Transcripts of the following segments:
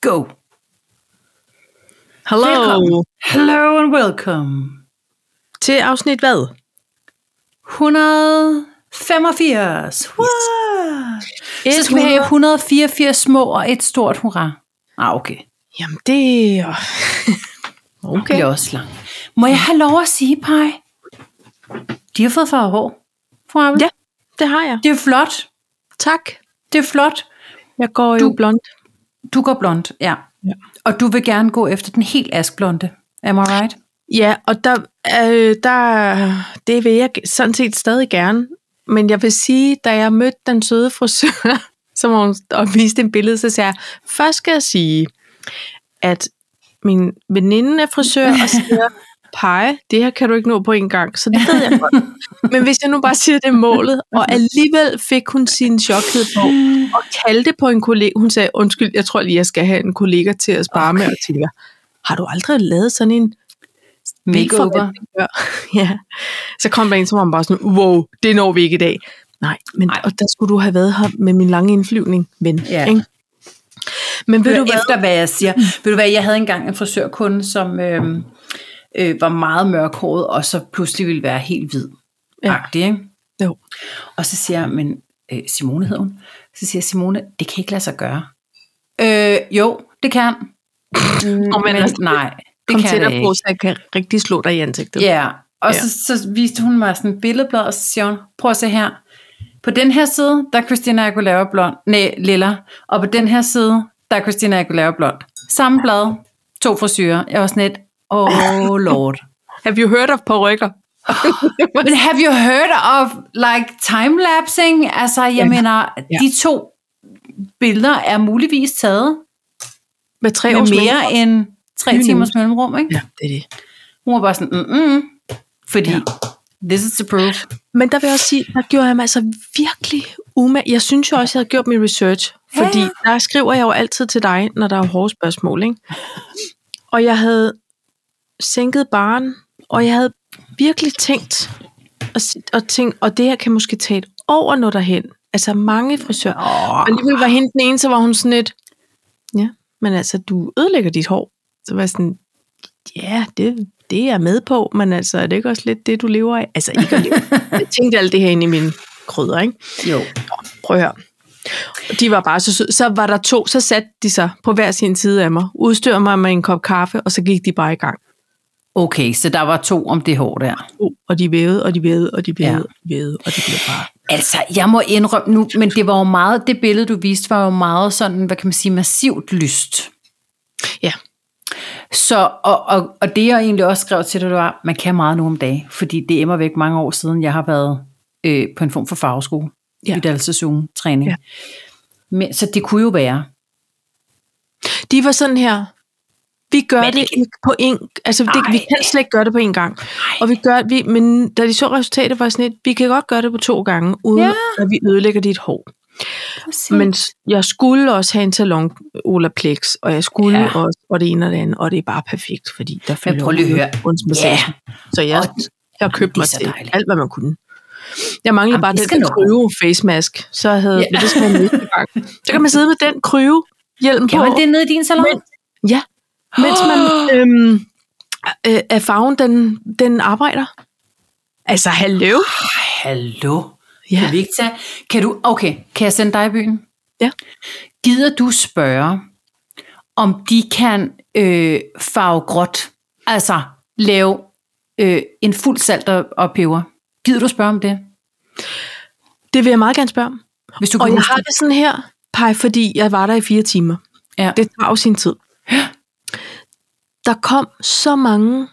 Go! Hello Velkommen. Hello and welcome. til afsnit hvad? 185. Wow. Så skal vi have 184 små og et stort hurra. Ah, okay. Jamen det er... Det Okay. er også langt. Må jeg have lov at sige, Paj? De har fået farve hår. Fru Abel. Ja, det har jeg. Det er flot. Tak. Det er flot. Jeg går jo Du- blond. Du går blond, ja. Ja. Og du vil gerne gå efter den helt askblonde. Am I right? Ja, og der, øh, der, det vil jeg sådan set stadig gerne. Men jeg vil sige, da jeg mødte den søde frisør, som hun og viste en billede, så sagde jeg, først skal jeg sige, at min veninde er frisør og siger, pege, det her kan du ikke nå på en gang, så det ved jeg godt. Men hvis jeg nu bare siger, det er målet, og alligevel fik hun sin chokhed på, og kaldte på en kollega, hun sagde, undskyld, jeg tror lige, jeg skal have en kollega til at spare okay. med, og jeg tænker, har du aldrig lavet sådan en Makeover. bilforretning før. ja. Så kom der en, som var bare sådan, wow, det når vi ikke i dag. Nej, men Nej. Ej. og der skulle du have været her med min lange indflyvning, ven. Ja. Ikke? Men ved Hør du hvad? Mm. efter, hvad jeg siger. Ved du hvad, jeg havde engang en frisørkunde, som øhm, øh, var meget mørkhåret, og så pludselig ville være helt hvid. Ja. Ja. Ikke? Jo. Og så siger jeg, men øh, Simone hed hun. Så siger jeg, Simone, det kan ikke lade sig gøre. Øh, jo, det kan. Mm, men altså, nej, det Kom kan det tættere ikke. på, så jeg kan rigtig slå dig i ansigtet. Ja, og Ja. ja. Så, så viste hun mig sådan et billedblad, og så siger hun, prøv at se her. På den her side, der er Christina Aguilera blond, nej, lilla, og på den her side, der er Christina Aguilera blond. Samme blad, to frisyrer. Jeg var sådan et, oh lord. Have you heard of rykker? Men have you heard of like timelapsing? Altså, jeg Ja. ja. mener, Ja. de to billeder er muligvis taget Med tre med års mere end tre Lynhurtigt. timers mellemrum, ikke? Ja, det er det. Hun var bare sådan, mm, mm, fordi this is the proof. Men der vil jeg også sige, der gjorde jeg mig altså virkelig umage. Jeg synes jo også, jeg har gjort min research, Ja, fordi ja. der skriver jeg jo altid til dig, når der er hårde spørgsmål. Ikke? Og jeg havde sænket baren, og jeg havde virkelig tænkt, og, s- og tænkt, og det her kan måske tage et år når derhen. Altså mange frisører. Oh. Og alligevel var hende den ene, så var hun sådan lidt, ja, men altså, du ødelægger dit hår. Så var jeg sådan, ja, det, det er jeg med på, men altså, er det ikke også lidt det, du lever af? Altså, ikke at leve. jeg tænkte alt det her inde i mine krydder, ikke? Jo. Prøv at høre. Og De var bare så søde. Så var der to, så satte de sig på hver sin side af mig, udstyrede mig med en kop kaffe, og så gik de bare i gang. Uh, Okay, så der var to om det hår der. Og de vævede, og de vævede, og de vævede, Ja. ja. og de vævede, og de blev bare... Altså, jeg må indrømme nu, men det var jo meget, det billede, du viste, var jo meget sådan, hvad kan man sige, massivt lyst. Ja. Så, og, og, og det jeg egentlig også skrev til dig, det var, man kan meget nu om dagen, fordi det er immer væk mange år siden, jeg har været øh, på en form for farveskole, Ja. ja. uddannelsesugen, træning. Ja. Ja. Men, så det kunne jo være. De var sådan her, vi gør Men det, det det ikke på en, altså det, vi Ej. kan slet ikke gøre det på en gang. Ej. Og vi gør, vi, men da de så resultatet, var jeg sådan lidt, vi kan godt gøre det på to gange, uden ja. Ja. Mm. at vi ødelægger dit hår. Men s- jeg skulle også have en salon Olaplex, og jeg skulle ja. Ja. også, og det ene og det andet, og det er bare perfekt, fordi der følger prøv lige at høre. yeah. ja, Så jeg, Og- jeg købte det er mig så til dejligt. alt, hvad man kunne. Jeg manglede Jamen, bare det den skal der nok. kryve face mask, så havde Ja. yeah. det skal jeg næste gang. Så kan man sidde med den kryve hjelm kan på. man det nede i din salon? Men- Ja, mens man øhm, øh, er farven, den, den arbejder. Altså, hallo? Hallo? Ja. Ja. Kan vi ikke tage... Kan du... Okay, kan jeg sende dig i byen? Ja. Gider du spørge, om de kan øh, farve gråt? Altså lave øh, en fuld salt og, og peber? Gider du spørge om det? Det vil jeg meget gerne spørge om. Hvis du Og kan jeg huske har det. det sådan her, pej, fordi jeg var der i fire timer. Ja. Det tager jo sin tid. Der kom så mange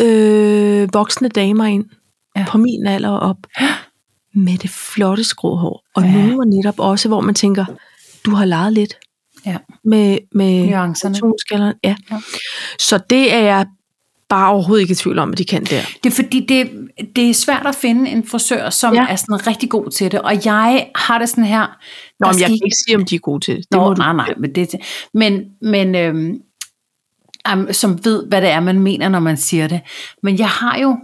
øh, voksne damer ind ja. Ja. på min alder og op med det flotte skrå hår. Og ja. Ja. nogle var netop også, hvor man tænker, du har leget lidt. Ja. Med, med Nuancerne. tonskallerne. Ja. ja. Ja. Så det er jeg bare overhovedet ikke i tvivl om, at de kan der. Det er fordi, det, det er svært at finde en frisør, som Ja. ja. er sådan rigtig god til det. Og jeg har det sådan her... Nå, der men jeg skal kan ikke sige, om de er gode til det. det. Nå, må du- nej, nej, men, det, men, men øhm, am- som ved, hvad det er, man mener, når man siger det. Men jeg har jo,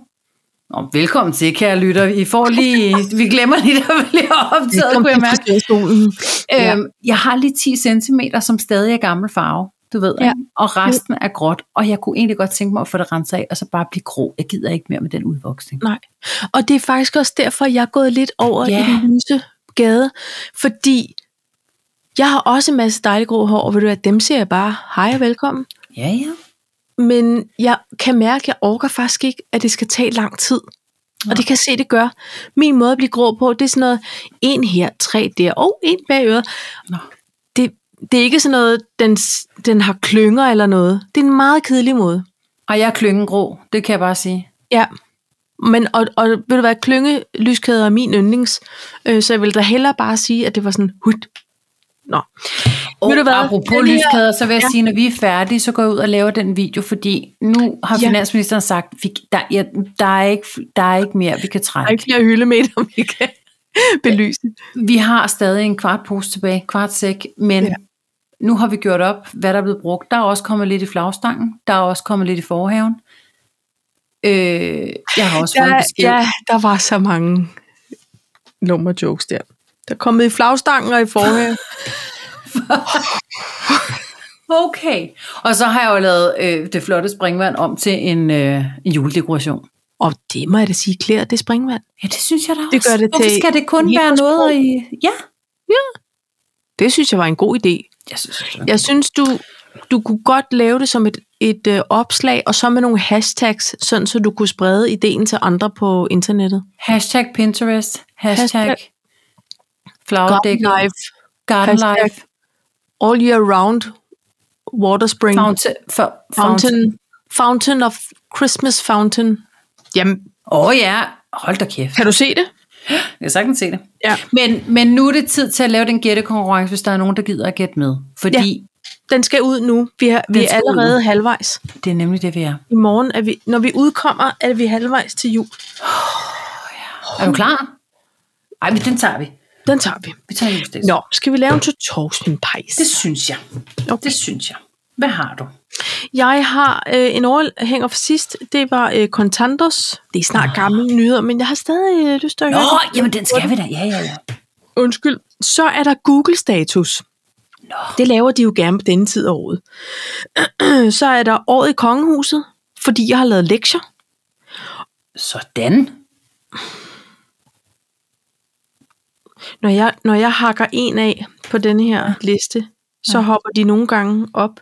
Og velkommen til, kære lytter. I får lige, vi glemmer lige, der vi lige har optaget, kunne jeg mærke. Ja. Øhm, jeg har lige 10 cm, som stadig er gammel farve, du ved, Ja. ja. og resten er gråt, og jeg kunne egentlig godt tænke mig at få det renset af, og så bare blive grå. Jeg gider ikke mere med den udvoksning. Nej. Og det er faktisk også derfor, jeg er gået lidt over Ja. yeah. i den lyse gade, fordi jeg har også en masse dejlige grå hår, og ved du hvad, dem siger jeg bare, hej og velkommen. Ja, ja. Men jeg kan mærke, at jeg orker faktisk ikke, at det skal tage lang tid. Og det kan jeg se, det gør. Min måde at blive grå på, det er sådan noget, en her, tre der, og en bag øret. Nå. Det, det er ikke sådan noget, den, s- den har klynger eller noget. Det er en meget kedelig måde. Og jeg er klyngengrå, det kan jeg bare sige. Ja. Men, og, og vil du være klyngelyskæder er min yndlings, øh, så jeg vil da hellere bare sige, at det var sådan, hut. Nå. Og Ved du hvad? apropos Den her- lyskæder, så vil jeg Ja. ja. sige, når vi er færdige, så går jeg ud og laver den video, fordi nu har Ja. ja. finansministeren sagt, vi, der, ja, der, er ikke, der er ikke mere, vi kan Der er trække. ikke flere hyldemeter, om vi kan belyse. Vi har stadig en kvart pose tilbage, kvart sæk, men Ja. ja. nu har vi gjort op, hvad der er blevet brugt. Der er også kommet lidt i flagstangen, der er også kommet lidt i forhaven. Øh, jeg har også fået en Ja, besked. ja, der var så mange nummerjokes der. Der kom i flagstangen og i forhæng. Okay. Og så har jeg jo lavet øh, det flotte springvand om til en, øh, en juledekoration. og det må jeg da sige, klæder det springvand. Ja, det synes jeg da også. Det gør det Hvorfor til skal det kun helt være vores noget sprog. i... Ja. Det synes jeg var en god idé. Jeg synes, det er- Jeg synes, du, du kunne godt lave det som et, et øh, opslag, og så med nogle hashtags, sådan så du kunne sprede ideen til andre på internettet. Hashtag Pinterest. Hashtag, Hashtag- hashtag Flowerdæk. Garden life. Garden Hashtag- Life. All year round. Water spring. Fountain. For, fountain. Fountain. Fountain of Christmas fountain. Jamen, Åh oh, ja. Hold da kæft. kan du se det? Jeg kan sagtens se det. Ja. Men, men nu er det tid til at lave den gættekonkurrence, hvis der er nogen, der gider at gætte med. Fordi Den skal ud nu. Vi, har, vi Den er skal ud nu. allerede halvvejs. ja. det er nemlig det, vi er. I morgen, er vi, når vi udkommer, er vi halvvejs til jul. Er du klar? Ej, men den tager vi. Den tager vi. Vi tager just det. Nå, skal vi lave en torsvinpejs? Det synes jeg. Okay. Det synes jeg. Hvad har du? Jeg har øh, en overhænger fra sidst. Det var øh, Contandos. Det er snart gamle nyheder, men jeg har stadig øh, lyst til at Nå, høre den. jamen den skal vi da. Ja, ja, ja. Undskyld. Så er der Google-status. Nå. Det laver de jo gerne på denne tid af året. Så er der året i kongehuset, fordi jeg har lavet lektier. Sådan. Når jeg, når jeg hakker en af på denne her liste, så hopper de nogle gange op.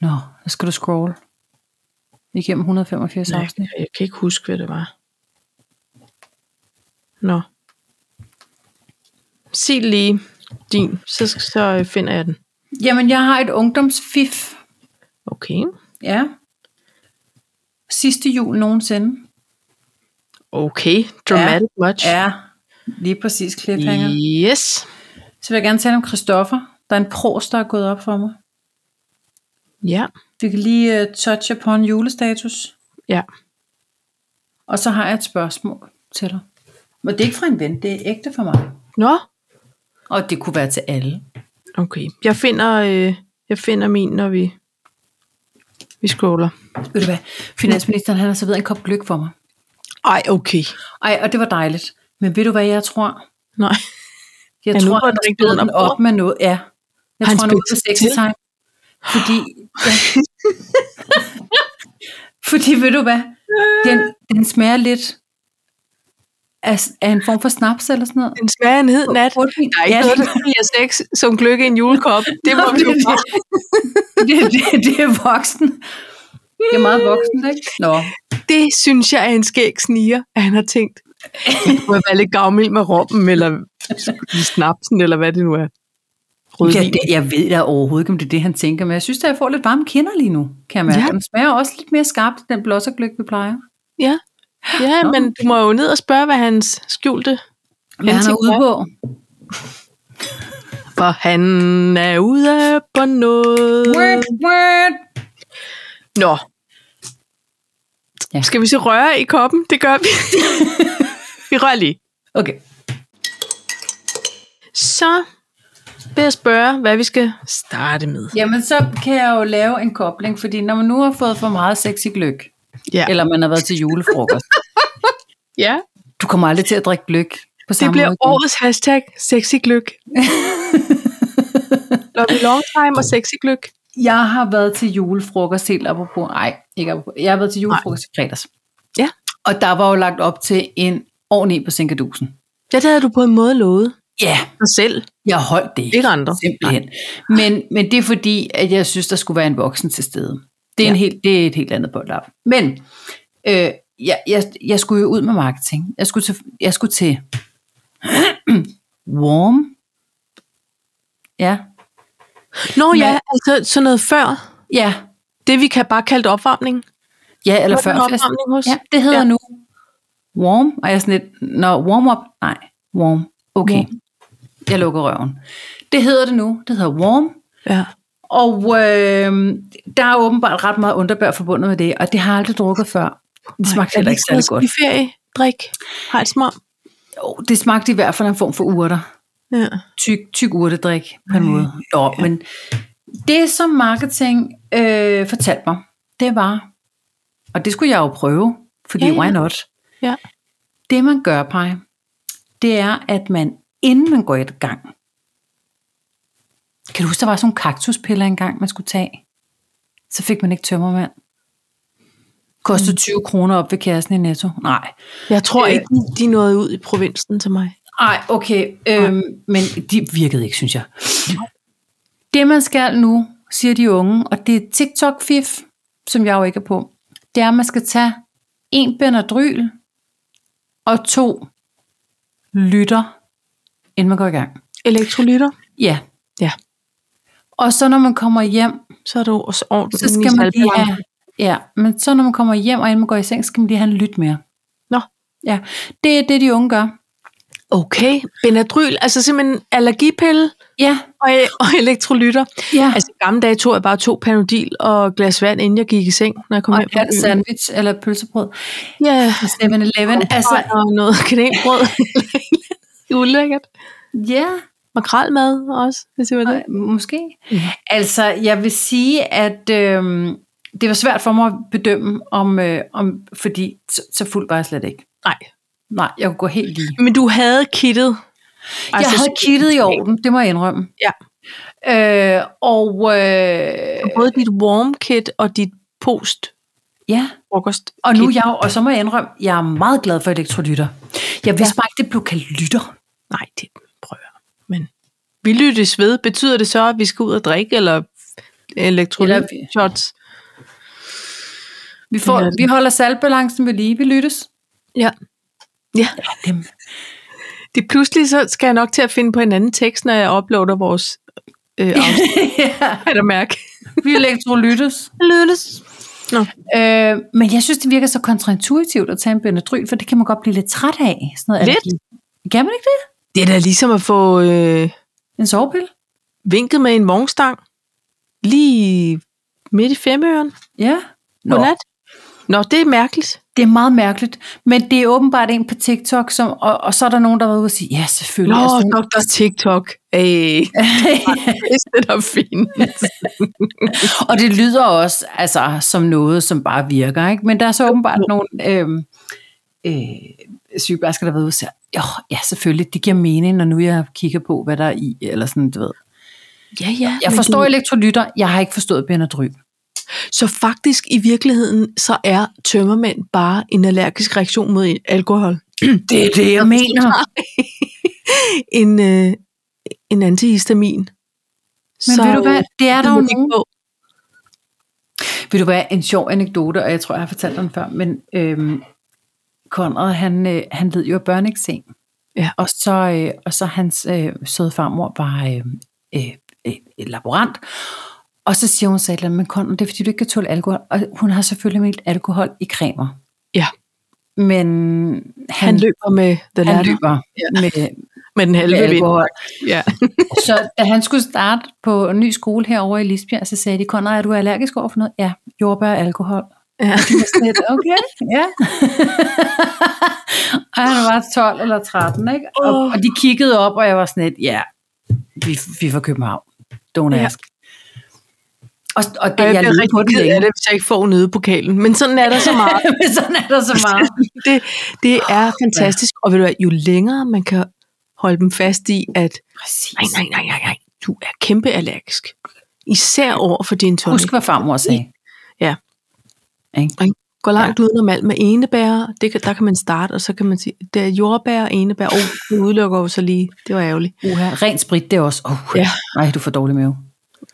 Nå, så skal du scroll igennem 185 Nej, afsnit. jeg kan ikke huske, hvad det var. Nå. Sig lige din, så, så finder jeg den. Jamen, jeg har et ungdomsfif. Okay. Ja. Sidste jul nogensinde. Okay, dramatic ja. much. Ja, lige præcis cliffhanger. Yes. Så vil jeg gerne tale om Christoffer. Der er en pros, der er gået op for mig. Ja. Vi kan lige uh, touch upon julestatus. ja. Og så har jeg et spørgsmål til dig. Men det er ikke fra en ven, det er ægte for mig. Nå, Og det kunne være til alle. okay. Jeg finder, øh, jeg finder min, når vi, vi scroller. Ved du hvad? Finansministeren han har serveret en kop gløk for mig. Ej, okay. Ej, og det var dejligt. Men ved du hvad jeg tror? Nej. Jeg Ja, nu tror, var han den har rigtig spillet under den op bordet. med noget. Ja. Jeg Har han tror, han er ude på spidset sexy til? time. Fordi, ja. fordi ved du hvad? Den, den smager lidt af, af en form for snaps eller sådan noget. En smager en hed nat. Portvin. Der er ikke Ja, noget, det- der bliver sex som gløgg i en julekop. Det må Nå, vi jo det- bare. det, det, det er voksen. Det er meget voksen, ikke? Nå, Det synes jeg er en skæg sniger, at han har tænkt. Det må være lidt gavmild med rommen, eller snapsen, eller hvad det nu er. Ja, Rødvin. det, jeg ved da overhovedet ikke, om det er det, han tænker, men jeg synes, at jeg får lidt varme kinder lige nu, kan jeg mærke. Ja. Ja. Den smager også lidt mere skarpt, den blåsergløk, vi plejer. ja. ja Nå. men du må jo ned og spørge, hvad hans skjulte... Men han er hensigt ude på. For han er ude på Word, noget. word. Nå. Ja. Skal vi så røre i koppen? Det gør vi. vi rører lige. Okay. Så vil jeg spørge, hvad vi skal starte med. Jamen, så kan jeg jo lave en kobling, fordi når man nu har fået for meget sexy gløk, Ja. eller man har været til julefrokost, Ja. Du kommer aldrig til at drikke gløk på samme Det bliver måde. igen. årets hashtag sexy gløk. Lobby long time og sexy gløk. Jeg har været til julefrokost helt apropos. Nej, ikke apropos. Jeg har været til julefrokost i fredags. Ja. Og der var jo lagt op til en ordentlig på Sinkadusen. Ja, det havde du på en måde lovet Ja, yeah, dig selv. jeg holdt det ikke. Ikke andre. Simpelthen. Men, men det er fordi, at jeg synes, der skulle være en voksen til stede. Det er, en Ja. helt, det er et helt andet boldlap. Men øh, jeg, jeg, jeg skulle jo ud med marketing. Jeg skulle til, jeg skulle til Warm. Ja. Nå ja, Men- altså sådan noget før. Ja. Det vi kan bare kalde det opvarmning. Ja, eller Var det før en opvarmning hos? Ja, det hedder Ja. ja. nu Warm. Og jeg er sådan lidt, når warm up, nej, warm. Okay. Warm. Jeg lukker røven. Det hedder det nu. Det hedder Warm. Ja. Og øh, der er åbenbart ret meget underbær forbundet med det, og det har jeg aldrig drukket før. Det smagte heller ikke særlig godt. I ferie, drik, har et smør. Jo, det smagte i hvert fald af en form for urter. Ja. Tyk, tyk urtedrik på en måde. Nå, men det som marketing øh, fortalte mig, det var, og det skulle jeg jo prøve, fordi Ja, ja, ja. why not? Ja. Det man gør, Paj, det er, at man inden man går i gang, kan du huske, der var sådan nogle kaktuspiller engang, man skulle tage? Så fik man ikke tømmermand. Mm. Kostede 20 kroner op ved kassen i Netto. Nej. Jeg tror Øh. ikke, de nåede ud i provinsen til mig. Nej, okay. Øhm, men de virkede ikke, synes jeg. Det, man skal nu, siger de unge, og det er TikTok-fif, som jeg jo ikke er på, det er, at man skal tage en benadryl og to lytter, inden man går i gang. Elektrolytter, Ja. Ja. Og så når man kommer hjem, så er du også ordentligt. så skal man lige have... Ja, men så når man kommer hjem, og inden man går i seng, skal man lige have en lyt mere. Nå. Ja, det er det, de unge gør. Okay, Benadryl, altså simpelthen allergipille Ja, og, og elektrolytter. ja. Altså i gamle dage tog jeg bare to panodil og et glas vand, inden jeg gik i seng, når jeg kom og hjem en halv sandwich eller et pølsebrød. Ja, 7-Eleven, altså, altså, og noget kanelbrød. Ulækkert. ja, Makrelmad også, hvis det var det. øh, måske. Altså, jeg vil sige, at øhm, det var svært for mig at bedømme, om, øh, om fordi så, så fuld var jeg slet ikke. Nej. Nej, jeg kunne gå helt lige. Men du havde kittet. Altså, jeg havde kittet i orden, det må jeg indrømme. Ja. Øh, og øh, Både dit warm kit og dit post ja, frokost og nu er jeg jo, og så må jeg indrømme, jeg er meget glad for elektrolytter. Jeg vidste bare ikke, det blev kaldt lytter. Nej, det prøver jeg. Men vi lyttes ved. Betyder det så, at vi skal ud og drikke, eller Eller- elektrolytshots? Vi, får, Det er det. vi holder salgbalancen ved lige, vi lyttes. Ja. Ja, Dem. det pludselig så skal jeg nok til at finde på en anden tekst, når jeg uploader vores øh, afsnit, ja, kan jeg mærke. vi elektrolyttes. Lyttes. Nå. Øh, men jeg synes, det virker så kontraintuitivt at tage en Benadryl, for det kan man godt blive lidt træt af. Sådan noget Lidt? allergi. Kan man ikke det? Det er da ligesom at få øh, En sovepille? vinket med en vognstang lige midt i femøren Ja. på nat. Nå, det er mærkeligt. det er meget mærkeligt. Men det er åbenbart en på TikTok, som, og, og så er der nogen, der har været ude og sige, ja, selvfølgelig. Nå, sådan- Dr. TikTok. Ej, det er det, der findes. og det lyder også altså, som noget, som bare virker. Ikke? Men der er så åbenbart nogle øh, øh, sygeplejersker, der har været ude og sige, jo, ja, selvfølgelig, det giver mening, når nu jeg kigger på, hvad der er i, eller sådan, du ved. Ja, ja. Jeg men forstår det- elektrolytter, jeg har ikke forstået Benadryl. Så faktisk i virkeligheden, så er tømmermænd bare en allergisk reaktion mod alkohol. Det er det, jeg mener. En, øh, en antihistamin. Men Men ved du hvad, det er der jo nogen. på. Vil du være en sjov anekdote, og jeg tror, jeg har fortalt den før, men øhm, Konrad, han, øh, han led jo af børneeksem. Ja. Og, så, øh, og så hans øh, søde farmor var øh, øh, øh, laborant, og så siger hun så et eller andet, men Konrad, det er fordi, du ikke kan tåle alkohol, og hun har selvfølgelig meldt alkohol i cremer. Ja. Men han, Han løber med den han han løb. løber ja. med, med den halve med vind. alkohol. Ja. Så da han skulle starte på en ny skole herovre i Lisbjerg, så sagde de, Conrad, er du allergisk over for noget? Ja, jordbær og alkohol. Ja. Og de var sådan lidt, okay, ja. og han var 12 eller 13, ikke? Og, Åh. og de kiggede op, og jeg var sådan lidt, ja, vi, vi er fra København. Don't Ja. ask. Og, og det, Og jeg, jeg, jeg bliver levede på rigtig det ked af længe. det, hvis jeg ikke får nede pokalen. Men sådan er der så meget. Men sådan er der så meget. det, det er fantastisk. Og ved du hvad, jo længere man kan holde dem fast i, at Præcis. nej, nej, nej, nej, nej, du er kæmpe allergisk. Især over for din tonic. Husk, hvad farmor sagde. Ja. Ikke? Gå langt ja. udenom alt med enebær. Det kan, der kan man starte, og så kan man sige, det er jordbær og enebær. Åh, oh, det udelukker jo så lige. Det var ærgerligt. Uha, ren sprit, det er også. Oh, ja. Ja. Nej, du får dårlig mave.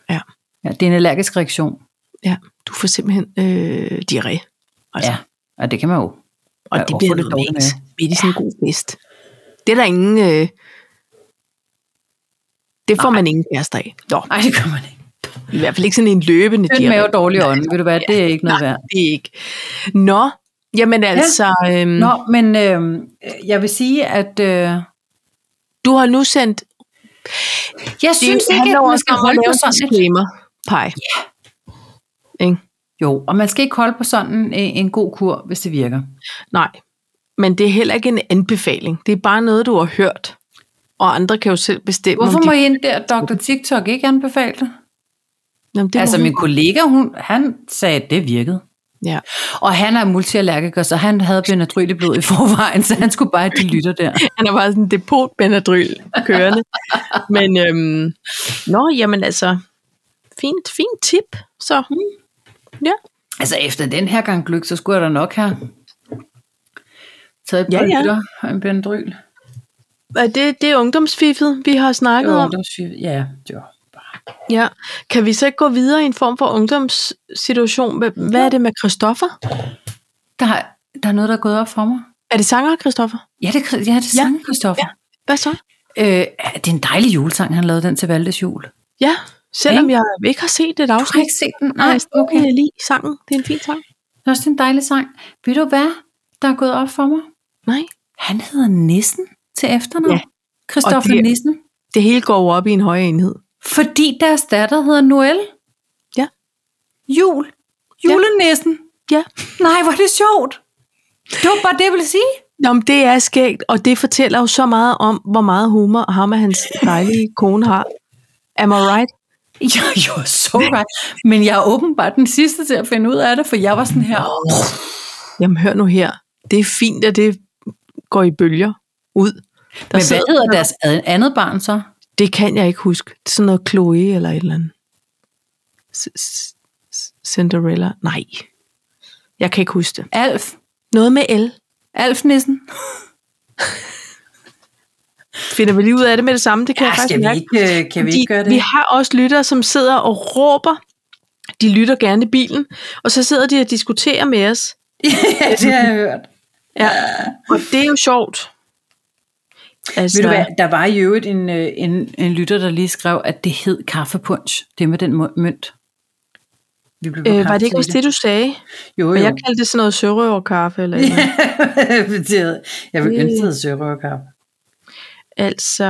Ja. ja. Det er en allergisk reaktion. Ja, du får simpelthen øh, diarré. Altså, Ja, og det kan man jo. Og Ja, det og få bliver det noget dårligt mix midt i sådan en god fest. Det er der ingen... Øh, det får man ingen kærester af. Nå, Nej, det kommer man ikke. i hvert fald ikke sådan en løbende Tynd diarré. mave og dårlig ånd, ved du hvad, det er ikke noget værd. Det er ikke. Nå, jamen altså, øhm, Nå. Nå, men øh, jeg vil sige, at øh, Mm. jeg du har nu sendt... synes ikke, handler at man også skal om at holde lave på en sådan et... disclaimer. Pej. Ikke? Jo, og man skal ikke holde på sådan en, en god kur, hvis det virker. Nej, men det er heller ikke en anbefaling. Det er bare noget, du har hørt. Og andre kan jo selv bestemme, Hvorfor om de... må hende der, Dr. TikTok, ikke anbefale det? Jamen, det det må altså hun- min kollega, hun, han sagde, at det virkede. Ja. Og han er multiallergiker, så han havde benadryl i blod i forvejen, så han skulle bare have de lytter der. Han er bare sådan en depot Benadryl kørende. Men øhm, nå, jamen altså, fint, fint tip. Så ja, Altså efter den her gang gløk, så skulle jeg da nok have taget et Ja, par ja. lytter og en benadryl. Og det, det er ungdomsfiffet, vi har Det snakket var om. ungdomssyge. Ja, det var bare... Ja. Kan vi så ikke gå videre i en form for ungdomssituation? Hvad- Hvad er det med Christoffer? Der, er- der er noget, der er gået op for mig. Er det sanger, Christoffer? Ja, det, er- ja, det er Ja. sangen, Christoffer. Hvad så? Øh, det er en dejlig julesang, han lavede den til Valdes jul. Ja, selvom jeg ikke har set det Du har afsnit. ikke set den? Nej, Nej, okay. jeg lige sangen. Det er en fin sang. Det er også en dejlig sang. Ved du hvad, der er gået op for mig? Nej. Han hedder Nissen til efternavn. Ja. Ja. Christoffer Og det... det- Nissen. Det hele går jo op i en højere enhed. Fordi deres datter hedder Noelle. Ja. Jul. Ja. Julenissen. Ja. Nej, hvor er det sjovt. Det var bare det, jeg ville sige. Nå, men det er skægt, og det fortæller jo så meget om, hvor meget humor ham og hans dejlige kone har. Am I right? Jo, jo, så right. Men jeg er åbenbart den sidste til at finde ud af det, for jeg var sådan her. Jamen, hør nu her. Det er fint, at det går i bølger ud. Der Men hvad sidder- hedder deres ad- andet barn så? Det kan jeg ikke huske. Det er sådan noget Chloe eller et eller andet. C- c- c- Cinderella? Nej. Jeg kan ikke huske det. Alf. Noget med L. Alf Nissen. Finder vi lige ud af det med det samme? Det kan jeg faktisk mærke. ikke, øh, kan Fordi Vi har også lyttere, som sidder og råber. De lytter gerne i bilen, og så sidder de og diskuterer med os. ja, det har jeg hørt. Ja. Og det er jo sjovt. Altså, Ved du hvad, der var i øvrigt en, øh, en, en lytter, der lige skrev, at det hed kaffepunch. Det med den mø- mønt. Vi blev øh, var det ikke også det, du sagde? Jo, jo. Og jeg kaldte det sådan noget sørøverkaffe. Eller yeah. jeg, jeg vil Øh. ønske, at sørøverkaffe. Altså,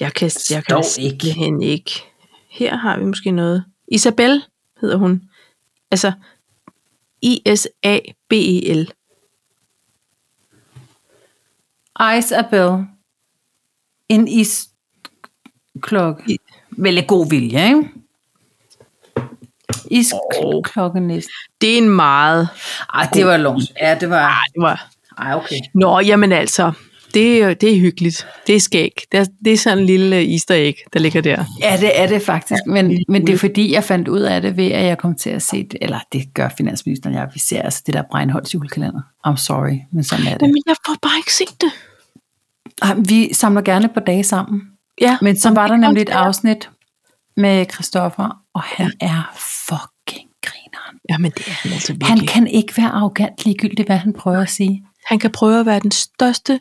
jeg kan, jeg Står kan simpelthen ikke. Her har vi måske noget. Isabel hedder hun. Altså, I-S-A-B-E-L. Isabel. En isklokke. I- Vel lidt god vilje, ikke? Isklokke næsten. Det er en meget... Ej, det var langt. Ja, det var... Det var Ej, okay. Nå, jamen altså, det, er- det er hyggeligt. Det er skæg. Det er, det er sådan en lille øh, easter egg, der ligger der. Ja, det er det faktisk, men, men det er fordi, jeg fandt ud af det ved, at jeg kom til at se, det, eller det gør finansministeren, og jeg, vi ser altså det der Breinholds julekalender. I'm sorry, men sådan er det. Jamen, jeg får bare ikke set det. Ej, vi samler gerne på dage sammen, Ja, men så var der nemlig et godt være. afsnit med Christoffer, og han er fucking grineren. jamen det er han altså virkelig. Han kan ikke være arrogant ligegyldigt, hvad han prøver at sige. han kan prøve at være den største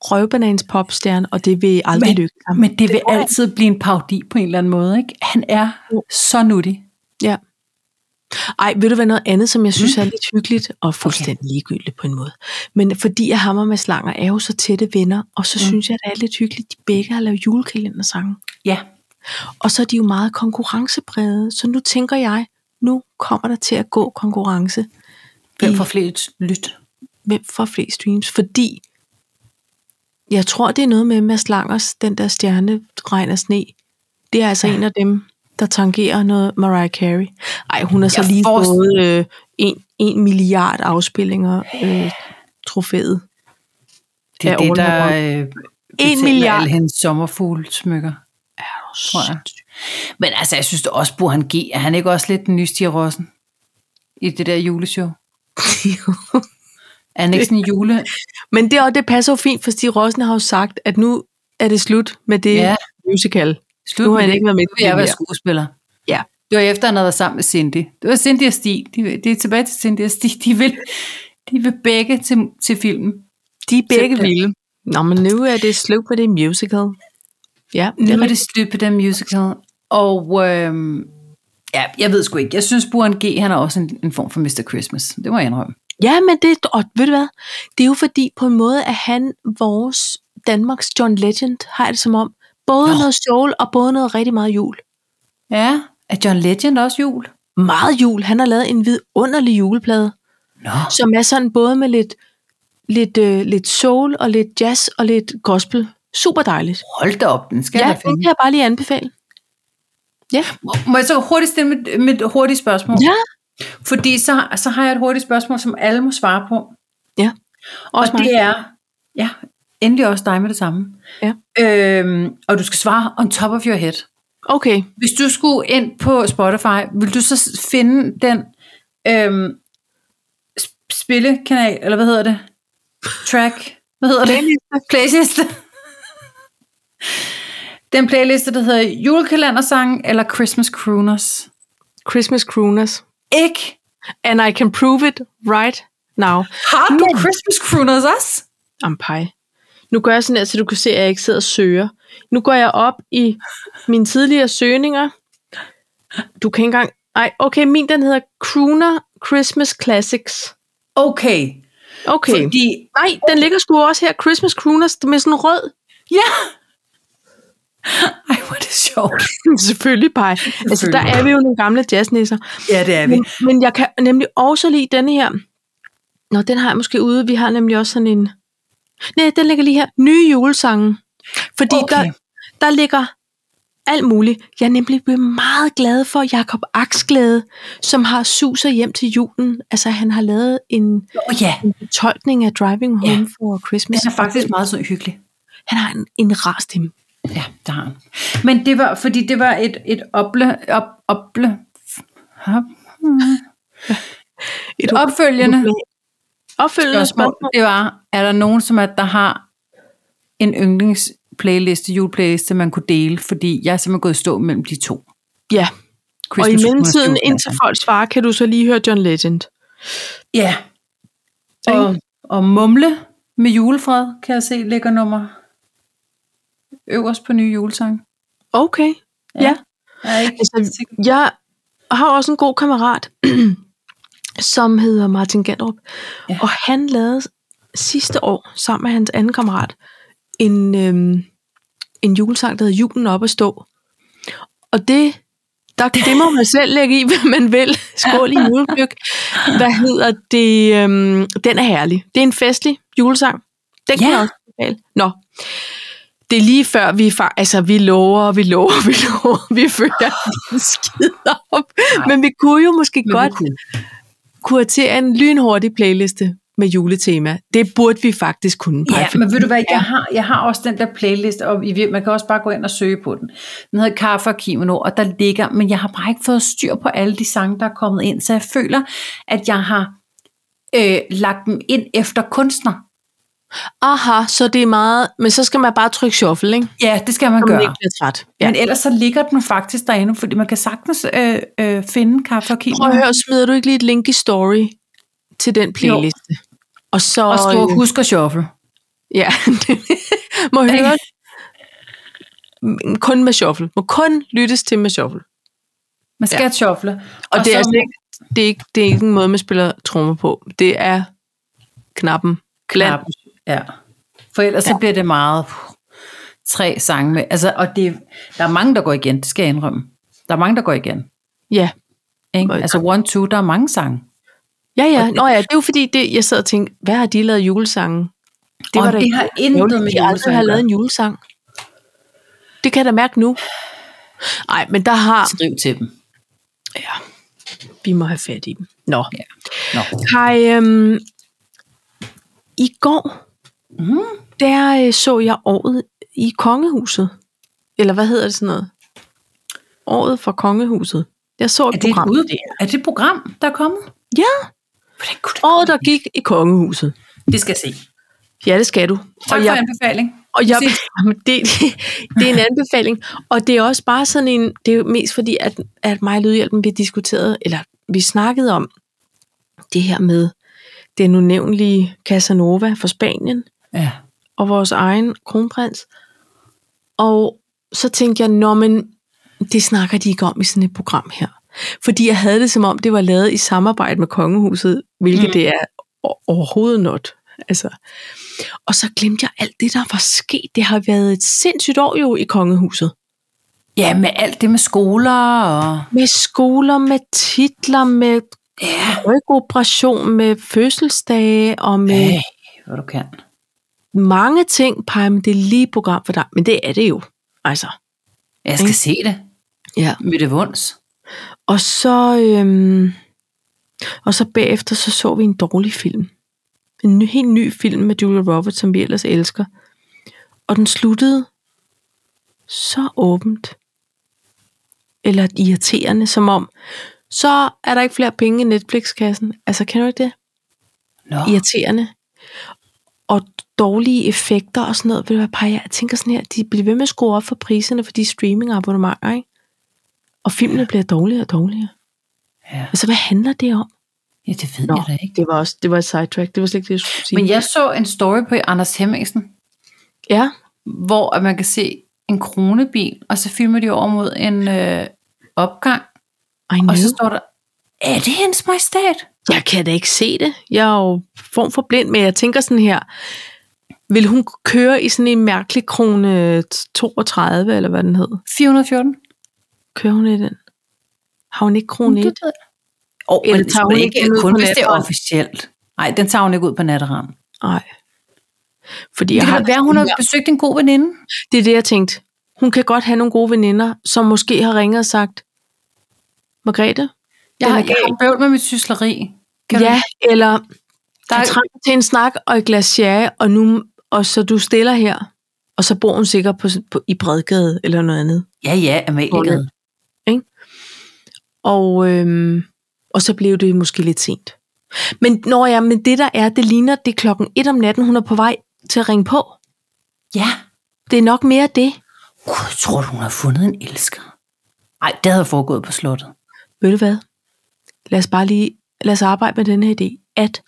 røvbanans popstjerne, og det vil aldrig Men- lykke ham. Men det vil tror jeg. altid blive en parodi på en eller anden måde, ikke? Han er Jo. så nuttig. Ja. Ej, ved du hvad noget andet, som jeg synes er lidt hyggeligt og fuldstændig ligegyldigt på en måde. Men fordi jeg hammer med slanger er jo så tætte venner, og så Mm. synes jeg, det er lidt hyggeligt, de begge har lavet julekalendersange. Ja, Og så er de jo meget konkurrencebrede, så nu tænker jeg, nu kommer der til at gå konkurrence. hvem I- får flest lyt? Hvem får flest streams? Fordi jeg tror, det er noget med Mads Langers, den der stjerne, regn og sne. Det er altså ja. en af dem, der tangerer noget Mariah Carey. Ej, hun har så Jeg lige forst- fået øh, en, en milliard afspillinger øh, trofæet. Det er af det, All der Around. øh, betaler milliard. alle hendes sommerfuglesmykker, tror jeg. Men altså, jeg synes da også, Burhan G, er han ikke også lidt den nye Stig Rossen? I det der juleshow? Er han ikke sådan en jule? Men det, og det passer jo fint, for Stig Rossen har jo sagt, at nu er det slut med det Ja. ja. musical. Slut Nu har med han det. ikke været med Nu vil jeg til være det skuespiller. Ja. Det var efter, han havde været sammen med Cindy. Det var Cindy og Stig. De, vil- det er tilbage til Cindy og Stig. De vil, de vil begge til, til filmen. De er begge Simpelthen. vilde. Nå, men nu er det slut med det musical. Ja, det Nu er er rigtigt. det slut på den musical. Og øhm, ja, jeg ved sgu ikke. Jeg synes, Burhan G, han er også en, en form for Mr. Christmas. Det må jeg indrømme. Ja, men det, og ved du hvad? Det er jo fordi, på en måde, at han, vores Danmarks John Legend, har jeg det som om, både Nå. Nå. noget soul og både noget rigtig meget jul. Ja, er John Legend også jul? Meget jul. Han har lavet en vidunderlig juleplade, Nå. som er sådan både med lidt, lidt, øh, lidt soul og lidt jazz og lidt gospel. Super dejligt. Hold da op, den skal Ja, jeg da den kan finde. jeg bare lige anbefale. Ja. Må jeg så hurtigt stille mit, mit hurtige spørgsmål? Ja. Fordi så, så har jeg et hurtigt spørgsmål, som alle må svare på. Ja. Og Også mig. det er, ja, endelig også dig med det samme. Ja. Øhm, og du skal svare on top of your head. Okay. Hvis du skulle ind på Spotify, vil du så finde den øhm, sp- spillekanal, eller hvad hedder det? Track? Hvad hedder det? Playliste. Den playliste, der hedder julekalendersang eller Christmas Crooners. Christmas Crooners. Ikke? And I can prove it right now. Har du Men. Christmas Crooners også? Ampej. Nu gør jeg sådan her, så du kan se, at jeg ikke sidder og søger. Nu går jeg op i mine tidligere søgninger. Du kan ikke engang... Ej, okay, min den hedder Crooner Christmas Classics. Okay. Okay. Fordi... Fordi, Nej, den ligger sgu også her. Christmas Crooners med sådan en rød. ja. Ej, hvor er det sjovt. Selvfølgelig, pej. Altså, der Selvfølgelig. er vi jo nogle gamle jazznæsser. Ja, det er vi. Men, men jeg kan nemlig også lide denne her. Nå, den har jeg måske ude. Vi har nemlig også sådan en... Nej, den ligger lige her. Nye julesange. Fordi Okay. okay. der, der ligger alt muligt. Jeg er nemlig blevet meget glad for Jakob Aksglæde, som har suser hjem til julen. Altså, han har lavet en, Åh oh, ja, en tolkning af Driving Ja. Home for Christmas. den er faktisk meget så hyggelig. Han har en, en rar stemme. Ja, det har han. Men det var, fordi det var et, et ople, op, ople, op, et opfølgende spørgsmål. Opfølgende spørgsmål. Det var, er der nogen, som at der har en yndlings playliste, juleplayliste, man kunne dele, fordi jeg er simpelthen gået i stå mellem de to. Ja, og i Christmas mellemtiden, Christmas, indtil folk svarer, kan du så lige høre John Legend. Ja. Og, og mumle med julefred, kan jeg se, ligger nummer øverst på nye julesang. Okay, ja. ja. Jeg er ikke Altså, sikker. Jeg har også en god kammerat, som hedder Martin Gandrup. Ja. Ja. Og han lavede sidste år, sammen med hans anden kammerat, en, øhm, en julesang, der hedder Julen op at stå. Og det, der, det må man selv lægge i, hvad man vil. Skål i juleblyk. Hvad hedder det? Øhm, den er herlig. Det er en festlig julesang. Den kan Ja. jeg også anbefale. Nå. Det er lige før, vi, fa- altså, vi lover, vi lover, vi lover, vi følger en skid op. Men vi kunne jo måske Men vi godt kunne. kuratere en lynhurtig playliste med juletema. Det burde vi faktisk kunne. Paj, Ja, for- men ved du hvad, jeg har, jeg har også den der playlist, og i vir- man kan også bare gå ind og søge på den. Den hedder Kaffe og Kimono, og der ligger, men jeg har bare ikke fået styr på alle de sange, der er kommet ind, så jeg føler, at jeg har øh, lagt dem ind efter kunstner. Aha, så det er meget... Men så skal man bare trykke shuffle, ikke? Ja, det skal man Så man gøre. ikke bliver træt. Ja. Ja. Men ellers så ligger den faktisk derinde, fordi man kan sagtens øh, øh, finde Kaffe og Kimono. Prøv at høre, smider du ikke lige et link i story til den playliste? Jo. Og øh, så... Og skrive, husk at shuffle. Ja. må høre... Mm, Kun med shuffle. Må kun lyttes til med shuffle. Man skal ja. shuffle. Og, og det, er så- altså ikke, det, er ikke, det er ikke en måde, man spiller trommer på. Det er knappen. Klan. Knappen, Ja. For ellers ja. så bliver det meget puh, tre sange med. Altså, og det, der er mange, der går igen, det skal jeg indrømme. Der er mange, der går igen. Ja. Ikke? Hvor- Altså one, two, der er mange sange. Ja, ja. Nå ja, det er jo fordi, det, jeg sad og tænkte, hvad har de lavet julesangen? Det, og da det har intet med de aldrig julesang. har at lavet gøre. en julesang. Det kan jeg da mærke nu. Nej, men der har... Skriv til dem. Ja, vi må have fat i dem. Nå. Ja. Nå. Hej, øhm, i går, Mm. der øh, så jeg året i kongehuset. Eller hvad hedder det sådan noget? Året fra kongehuset. Jeg så et Er det program. et ud? Er det et program, der er kommet? Ja, Hvordan kunne det? året der gik i kongehuset. Det skal jeg se. Ja, det skal du. Tak og for jeg, anbefaling. og jeg Præcis. jamen, det, det er en anbefaling. Og det er også bare sådan en, det er jo mest fordi, at, at mig og Lydhjælpen, vi diskuterede, eller vi snakkede om det her med den unævnlige Casanova fra Spanien, Ja. og vores egen kronprins. Og så tænkte jeg, nå men, det snakker de ikke om i sådan et program her. Fordi jeg havde det som om, det var lavet i samarbejde med kongehuset, hvilket Mm. mm. det er o- overhovedet not. Altså. Og så glemte jeg alt det, der var sket. Det har været et sindssygt år jo i kongehuset. ja, med alt det med skoler og... Med skoler, med titler, med Ja. rygoperation, med fødselsdage og med Hey, hvor du kan. mange ting. Pej, men det er lige et program for dig. Men det er det jo. Altså. Jeg skal se det. Ja. Mødte vunds. Og så, øhm, og så bagefter så, så vi en dårlig film. En ny, helt ny film med Julia Roberts, som vi ellers elsker. Og den sluttede så åbent. Eller irriterende, som om, så er der ikke flere penge i Netflix-kassen. Altså, kan du ikke det? Nå. Irriterende. Og dårlige effekter og sådan noget. Ved du hvad, Paj, jeg tænker sådan her, de bliver ved med at skrue op for priserne for de streaming-abonnementer, ikke? Og filmene bliver dårligere og dårligere. Ja. Altså, hvad handler det om? ja, det ved Nå. jeg da ikke. det var også det var et sidetrack. Det var slet ikke det, jeg skulle sige. Men jeg så en story på Anders Hemmingsen, ja, hvor at man kan se en kronebil, og så filmer de over mod en øh, opgang, I og så know. står der, er det hendes majestat? Jeg kan da ikke se det. Jeg er jo form for blind, men jeg tænker sådan her. Vil hun køre i sådan en mærkelig krone 32, eller hvad den hed? 414. Kører hun i den? Har hun ikke krone Det 1? ved jeg. Åh, men Eller det tager tager hun ikke ikke den ud kun, på hvis det er natteravn? officielt. Nej, den tager hun ikke ud på natteravn. Nej. Fordi Det jeg har kan da være, hun har besøgt en god veninde. Det er det, jeg tænkte. Hun kan godt have nogle gode veninder, som måske har ringet og sagt, Margrethe, Jeg, den har, er jeg har gal. bøvl med mit sysleri. Kan Ja, eller Der Der er- er trænger til en snak og et glas sherry, og, nu, og så du stiller her. Og så bor hun sikkert på, på, i Bredgade eller noget andet. Du? Ja, ja, Amaliegade. Og, øhm, og så blev det måske lidt sent. Men når jeg, men det der er, det ligner, det er klokken 1 om natten, hun er på vej til at ringe på. Ja. Det er nok mere det. Gud, tror du, hun har fundet en elsker? Nej, det havde foregået på slottet. Ved du hvad? Lad os bare lige lad os arbejde med den her idé, at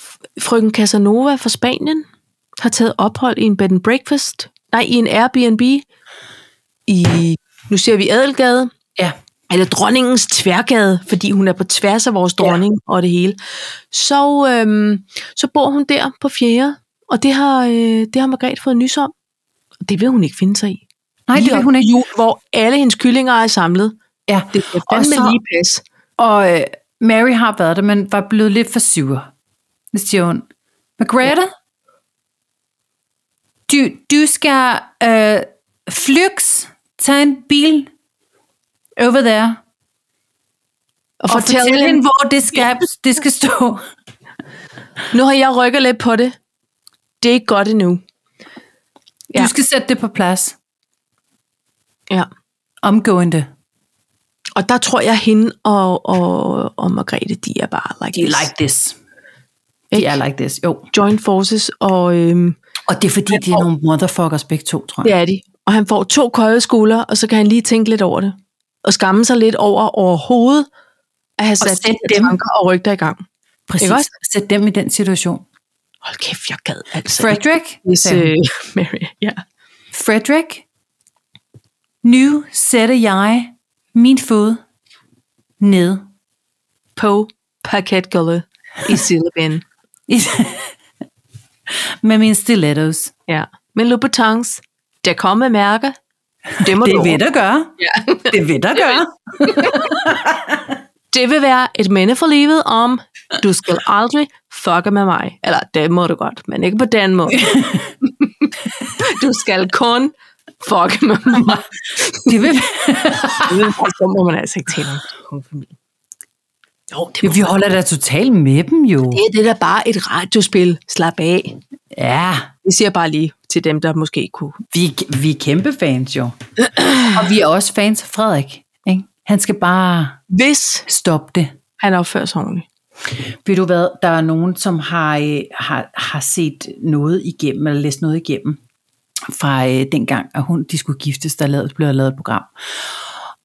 f- frøken Casanova fra Spanien har taget ophold i en bed and breakfast, nej, i en Airbnb i, nu ser vi Adelgade, Ja. eller dronningens tværgade, fordi hun er på tværs af vores dronning ja. og det hele. Så, øhm, så bor hun der på fjerde, og det har, øh, det har Margrethe fået nys om. Og det vil hun ikke finde sig i. Nej, det Lige vil op hun til ikke. Jul, hvor alle hendes kyllinger er samlet. Ja. Det skal Og fandme så- lige passe. Og øh, Mary har været det, men var blevet lidt for syver. Det siger hun. Margrethe, du, du skal øh, flygs tage en bil over der og og fortælle fortælle hende, hende, hvor det skal, det skal stå. nu har jeg rykket lidt på det. Det er ikke godt endnu. Du Ja. skal sætte det på plads. Ja. Omgående. Og der tror jeg, hende og, og, og Margrethe, de er bare like, De er like this. De Ikke? er like this, jo. joint forces, og øhm, Og det er fordi, de er nogle motherfuckers begge to, tror det jeg. er de. Og han får to køje skuldre, og så kan han lige tænke lidt over det. Og skamme sig lidt over overhovedet at have sat sætte de her dem. tanker og rygter i gang. Ikke Præcis. også? Sæt dem i den situation. Hold kæft, jeg gad altså. ikke, Frederick, Hvis, sagde hun. øh, Mary, ja. Frederik, nu sætter jeg min fod ned. På parketgulvet i Silvan. med mine stilettos. ja. Men Louboutins, der kommer mærker, det må Det du vil der gøre. Ja. Det vil der gøre. Det vil være et minde for livet om, du skal aldrig fucke med mig. Eller det må du godt, men ikke på den måde. Du skal kun Fuck, man. Det vil, så må man altså ikke tale om kongefamilie. Jo, det, jo, vi holder da totalt med dem jo. det er det der bare et radiospil. Slap af. Ja, Det siger jeg bare lige til dem, der måske kunne. vi, vi er kæmpe fans jo. Og vi er også fans af Frederik. Ikke? Han skal bare Hvis stoppe det. han opfører sig ordentligt. Ved du hvad, der er nogen, som har, øh, har, har set noget igennem, eller læst noget igennem, fra øh, dengang, at hun, de skulle giftes, der lavede, blev der lavet et program.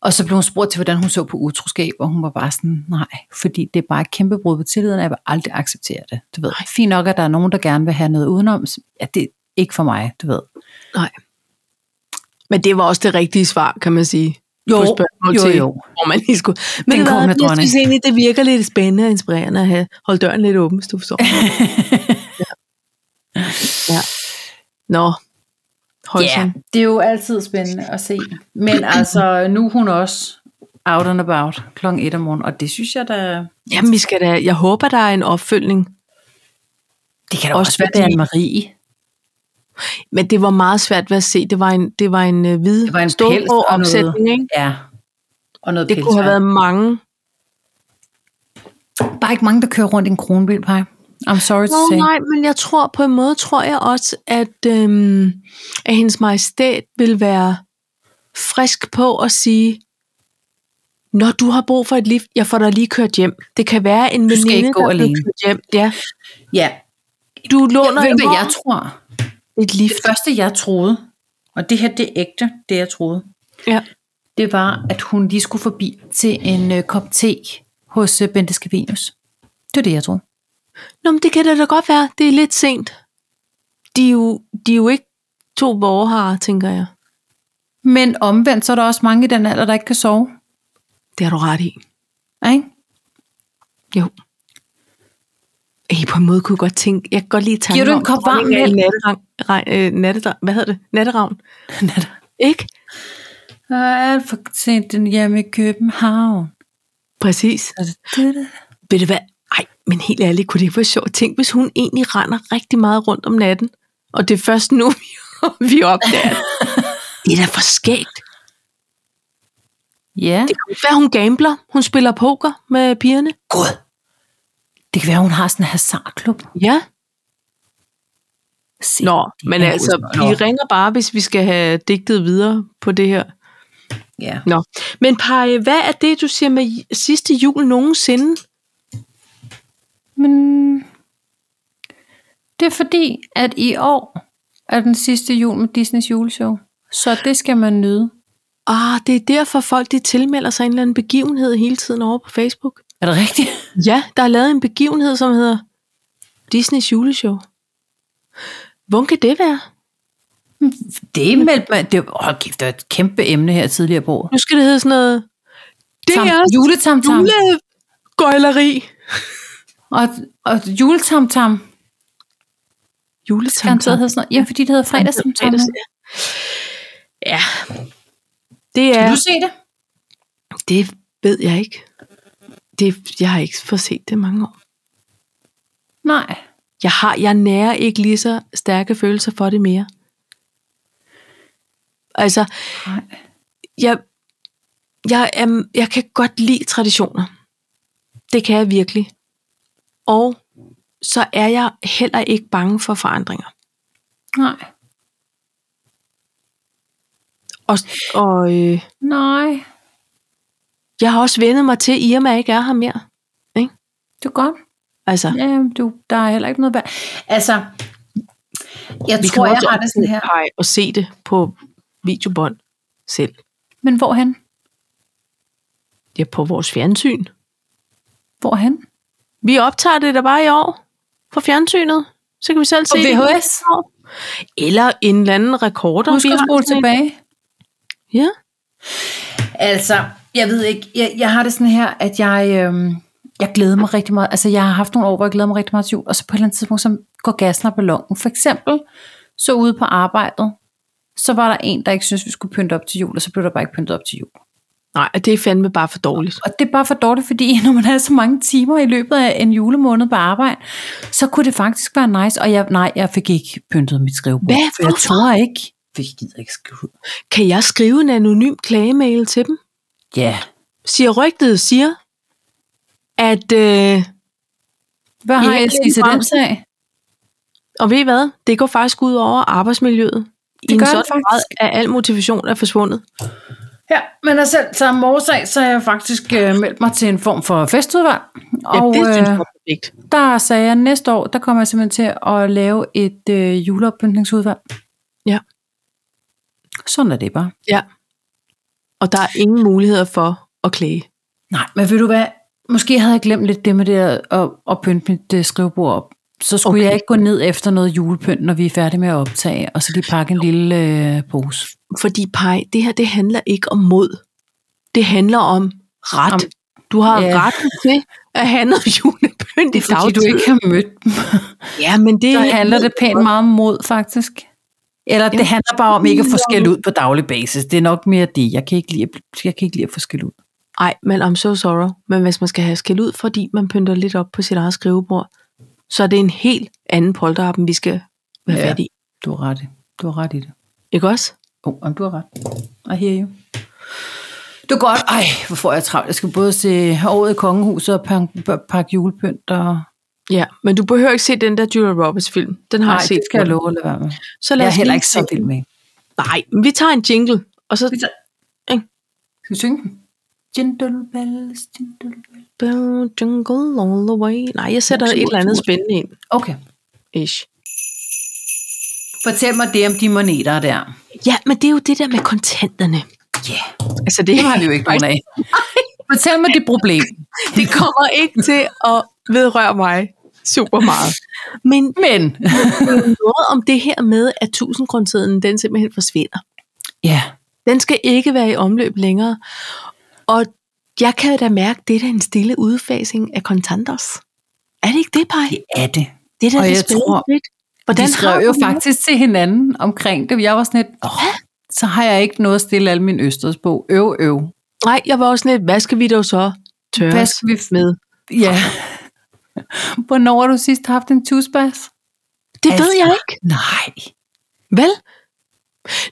Og så blev hun spurgt til, hvordan hun så på utroskab, og hun var bare sådan, nej, fordi det er bare et kæmpe brud på tilliden, og jeg vil aldrig acceptere det. Du ved, fint nok, at der er nogen, der gerne vil have noget udenom. Ja, det er ikke for mig, du ved. Nej. Men det var også det rigtige svar, kan man sige. Jo, på spørgsmål jo, til, jo. Hvor man lige skulle. Men Den hvad, kommende jeg dronning. synes egentlig, det virker lidt spændende og inspirerende at have. Hold døren lidt åben, hvis du forstår. ja. ja. Nå. Hold yeah. det er jo altid spændende at se. Men altså, nu er hun også out and about klokken 1 om morgenen, og det synes jeg da... Jamen, vi skal da, jeg håber, der er en opfølgning. Det kan da Også også, være, det fordi- er Marie. Men det var meget svært ved at se. Det var en, det var en øh, hvid Det var en stålgrå pels og noget. opsætning, ikke? Ja. Og noget Det kunne have været mange. Bare ikke mange, der kører rundt i en kronbil, Paj. I'm sorry to Nå, say. nej, men jeg tror på en måde, tror jeg også, at, øhm, at hendes majestæt vil være frisk på at sige, når du har brug for et lift, jeg får dig lige kørt hjem. Det kan være en skal veninde, ikke gå der er blevet alene. kørt hjem. Ja. Ja. Du Jeg låner ved, en hvad jeg vogn, tror. et lift. Det første, jeg troede, og det her, det er ægte, det jeg troede, Ja. det var, at hun lige skulle forbi til en øh, kop te hos øh, Bente Scavenius. Det var det, jeg troede. Nå, men det kan da da godt være. Det er lidt sent. De er jo, de er jo ikke to borgere, tænker jeg. Men omvendt, så er der også mange i den alder, der ikke kan sove. Det har du ret i. Ikke? Jo. Ej, på en måde kunne jeg godt tænke, jeg kan godt lide tanken Giver du en om, kop varm dronningen er i mælk? natterang, regn, øh, natterang, hvad hedder det? Natteravn. Ikke? Der er alt for sent den hjemme i København. Præcis. Ved du hvad? Ej, men helt ærligt, kunne det ikke være sjovt? Tænk, hvis hun egentlig render rigtig meget rundt om natten, og det er først nu, vi opdager det. Det er da for skægt. Ja. Det kan være, hun gambler. Hun spiller poker med pigerne. Gud. Det kan være, hun har sådan en hasardklub. Ja. Se, Nå, det men er altså, Nå. vi ringer bare, hvis vi skal have digtet videre på det her. Ja. Nå, men Paj, hvad er det, du siger med j- sidste jul nogensinde? Men det er fordi, at i år er den sidste jul med Disneys juleshow. Så det skal man nyde. Ah, det er derfor folk, de tilmelder sig en eller anden begivenhed hele tiden over på Facebook. Er det rigtigt? Ja, der er lavet en begivenhed, som hedder Disneys juleshow. Hvordan kan det være? Det er meldt mig. Det, hold kæft, det var et kæmpe emne her tidligere på året. Nu skal det hedde sådan noget... Det Tam, er juletamtam. julegøjleri. Og, og juletamtam. Kan Juletamtam. hedde sådan noget. Ja, fordi det hedder fredagstamtam. Ja. Det Kan er... du se det? Det ved jeg ikke. Det, jeg har ikke fået set det i mange år. Nej. Jeg har, jeg nærer ikke lige så stærke følelser for det mere. Altså, Nej. jeg, jeg, jeg, jeg kan godt lide traditioner. Det kan jeg virkelig. Og så er jeg heller ikke bange for forandringer. Nej. Og, og øh, Nej. jeg har også vendet mig til, at Irma ikke er her mere. Det er godt. Altså, Ja, jamen, du, der er heller ikke noget værd. Altså, jeg vi tror, kan jeg også har det sådan her. optage og se det på videobånd selv. Men hvorhen? Ja, på vores fjernsyn. Hvorhen? Vi optager det da bare i år på fjernsynet. Så kan vi selv se det. VHS? Eller en eller anden rekorder. Husk vi at har spole sådan en. tilbage. Ja. Altså, jeg ved ikke, jeg, jeg har det sådan her, at jeg, øhm, jeg glæder mig rigtig meget. Altså, jeg har haft nogle år, hvor jeg glæder mig rigtig meget til jul, og så på et eller andet tidspunkt, så går gassen og ballongen. For eksempel, så ude på arbejdet, så var der en, der ikke synes vi skulle pynte op til jul, og så blev der bare ikke pyntet op til jul. Nej, og det er fandme bare for dårligt. Og det er bare for dårligt, fordi når man har så mange timer i løbet af en julemåned på arbejde, så kunne det faktisk være nice. Og jeg, nej, jeg fik ikke pyntet mit skrivebord. Hvad? For jeg Hvorfor? turde ikke. Det gider jeg ikke skrive ud. Kan jeg skrive en anonym klagemail til dem? Ja. Siger rygtet siger, at... Øh, Hvad har Ja, jeg at sige til den sag? og ved I hvad? Det går faktisk ud over arbejdsmiljøet. Det I en gør det sådan grad, faktisk. at al motivation er forsvundet. Ja, men altså, af selv samme årsag, så har jeg faktisk øh, meldt mig til en form for festudvalg. Ja, Og det synes øh, jeg er perfekt. der sagde jeg, at næste år, der kommer jeg simpelthen til at lave et øh, juleoppyntningsudvalg. Ja. Sådan er det bare. Ja. Og der er ingen muligheder for at klage. Nej, men ved du hvad? Måske havde jeg glemt lidt det med det at, at, at pynte mit øh, skrivebord op. Så skulle okay. Okay. jeg ikke gå ned efter noget julepynt, når vi er færdige med at optage, og så lige pakke en lille øh, pose. Fordi pej, det her det handler ikke om mod. Det handler om ret. Om- Om, du har Ja. ja. ret til at have noget julepynt i Fordi dagtid. du ikke har mødt dem, Ja, men det så er- handler det pænt meget om mod, faktisk. Eller det handler bare om ikke at få skæld ud på daglig basis. Det er nok mere det. Jeg kan ikke lide at, bl- jeg kan ikke lide at få skæld ud. Ej, men I'm so sorry. Men hvis man skal have skæld ud, fordi man pynter lidt op på sit eget skrivebord, så er det en helt anden polterappen, vi skal være Ja. ja. fat i. Du har ret. i- Du har ret i det. Ikke også? Jo, oh, du har ret. I hear you. Det er godt. Ej, hvor får jeg travlt. Jeg skal både se året i kongehuset og pak- pa- pakke julepynt. Og... Ja, men du behøver ikke se den der Julia Roberts film. Den har Nej, jeg set. det skal jeg love at lade være med. Så lad Jeg os er heller lige ikke så se- vild med. Nej, men vi tager en jingle, og så Skal vi synge den? Jingle bells, jingle bells. Bell, Jungle all the way. Nej, jeg sætter Smurt, et eller andet smurt. spændende ind. Okay. Ish. Fortæl mig det om de moneter der. Ja, men det er jo det der med kontanterne. Ja, yeah. Altså det, det har vi jo ikke nogen af. Fortæl mig det problem. Det kommer ikke til at vedrøre mig super meget. Men Men, noget om det her med, at tusindgrundsiden, den simpelthen forsvinder. ja, Den skal ikke være i omløb længere. Og jeg kan da mærke, det er da en stille udfasing af kontanters. Er det ikke det, Paj? det er det. Det er da og det jeg spændende tror, fedt. Hvordan de har skrev jo du det? faktisk til hinanden omkring det. Jeg var sådan lidt, oh, så har jeg ikke noget at stille alle mine østers på. Øv, øv. Nej, jeg var også lidt, hvad skal vi dog så tørre Hvad os skal vi- med? Ja. Hvornår har du sidst haft en tusbas? Det ved Altså. jeg ikke. Nej. Vel?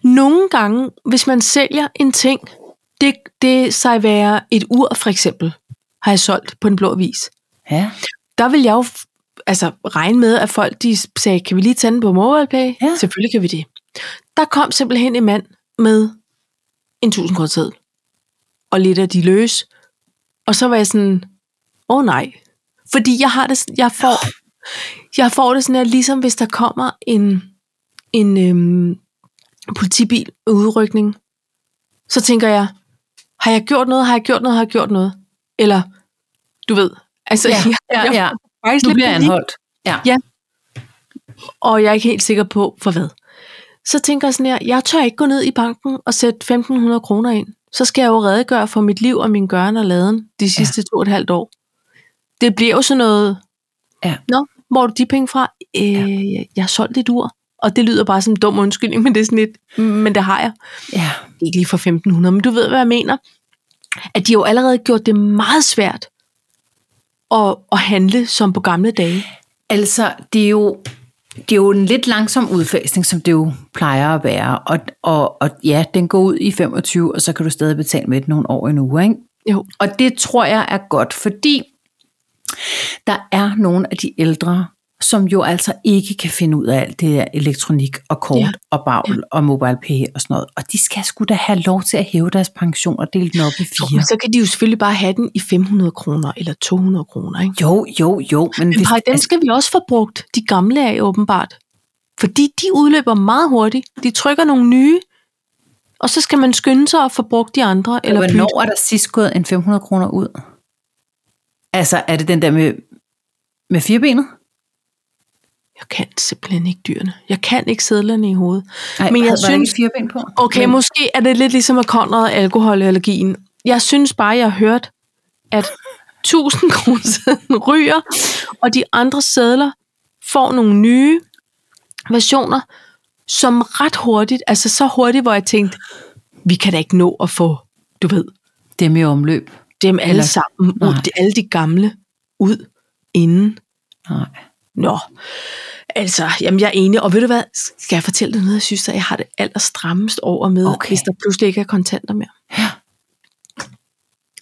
Nogle gange, hvis man sælger en ting, det, det sig være et ur for eksempel, har jeg solgt på en blå vis. Ja. Der vil jeg jo f- altså, regne med, at folk de sagde, kan vi lige tænde på MobilePay? Ja. Selvfølgelig kan vi det. Der kom simpelthen en mand med en 1000 kroner seddel, og lidt af de løs. Og så var jeg sådan, åh oh, nej. Fordi jeg har det, sådan- jeg får, jeg får det sådan her, ligesom hvis der kommer en, en øhm, politibil med udrykning, så tænker jeg, har jeg gjort noget, har jeg gjort noget, har jeg gjort noget? Eller, du ved, altså, Ja, jeg, ja, jeg ja. får faktisk Nu lidt bliver jeg panik anholdt. Ja. og jeg er ikke helt sikker på, for hvad. Så tænker jeg sådan her, jeg tør ikke gå ned i banken og sætte 1.500 kroner ind. Så skal jeg jo redegøre for mit liv og min gøren og laden de sidste ja. to og et halvt år. Det bliver jo sådan noget, Ja. nå, hvor har du de penge fra? Øh, ja. Jeg har solgt et ur, og det lyder bare som en dum undskyldning, men det er sådan lidt, "Mm, men det har jeg. ja. Ikke lige for 1.500, men du ved, hvad jeg mener. At de har jo allerede gjort det meget svært at, at handle som på gamle dage. Altså, det er jo... Det er jo en lidt langsom udfasning, som det jo plejer at være. Og, og, og ja, den går ud i 25, og så kan du stadig betale med den nogle år endnu. Ikke? Jo, Og det tror jeg er godt, fordi der er nogle af de ældre, som jo altså ikke kan finde ud af alt det der elektronik og kort ja. Ja. og bagl ja. og mobile og sådan noget. Og de skal sgu da have lov til at hæve deres pension og dele den op i Ja. fire. Så kan de jo selvfølgelig bare have den i 500 kroner eller 200 kroner. Ikke? Jo, jo, jo. Men Men hvis, altså, Paj, den skal vi også få brugt, de gamle af åbenbart. Fordi de udløber meget hurtigt. De trykker nogle nye, og så skal man skynde sig at få brugt de andre. Eller eller bytte. hvornår er der sidst gået en 500 kroner ud? Altså, er det den der med, med firebenet? Jeg kan simpelthen ikke dyrene. Jeg kan ikke sædlerne i hovedet. Ej, Men jeg var der ikke synes- fireben på? Okay, Men- Men... måske er det lidt ligesom at Conrad og alkoholallergien. Jeg synes bare, jeg har hørt, at 1000 kroner sædlen ryger, og de andre sædler får nogle nye versioner, som ret hurtigt, altså så hurtigt, hvor jeg tænkte, vi kan da ikke nå at få, du ved, Dem i omløb. dem alle Eller- sammen ud, Nej. de- alle de gamle ud inden. Nej. Nå, Altså, jamen jeg er enig, og ved du hvad, skal jeg fortælle dig noget, jeg synes, at jeg har det allerstrammest over med, Okay. okay. hvis der pludselig ikke er kontanter mere. Ja.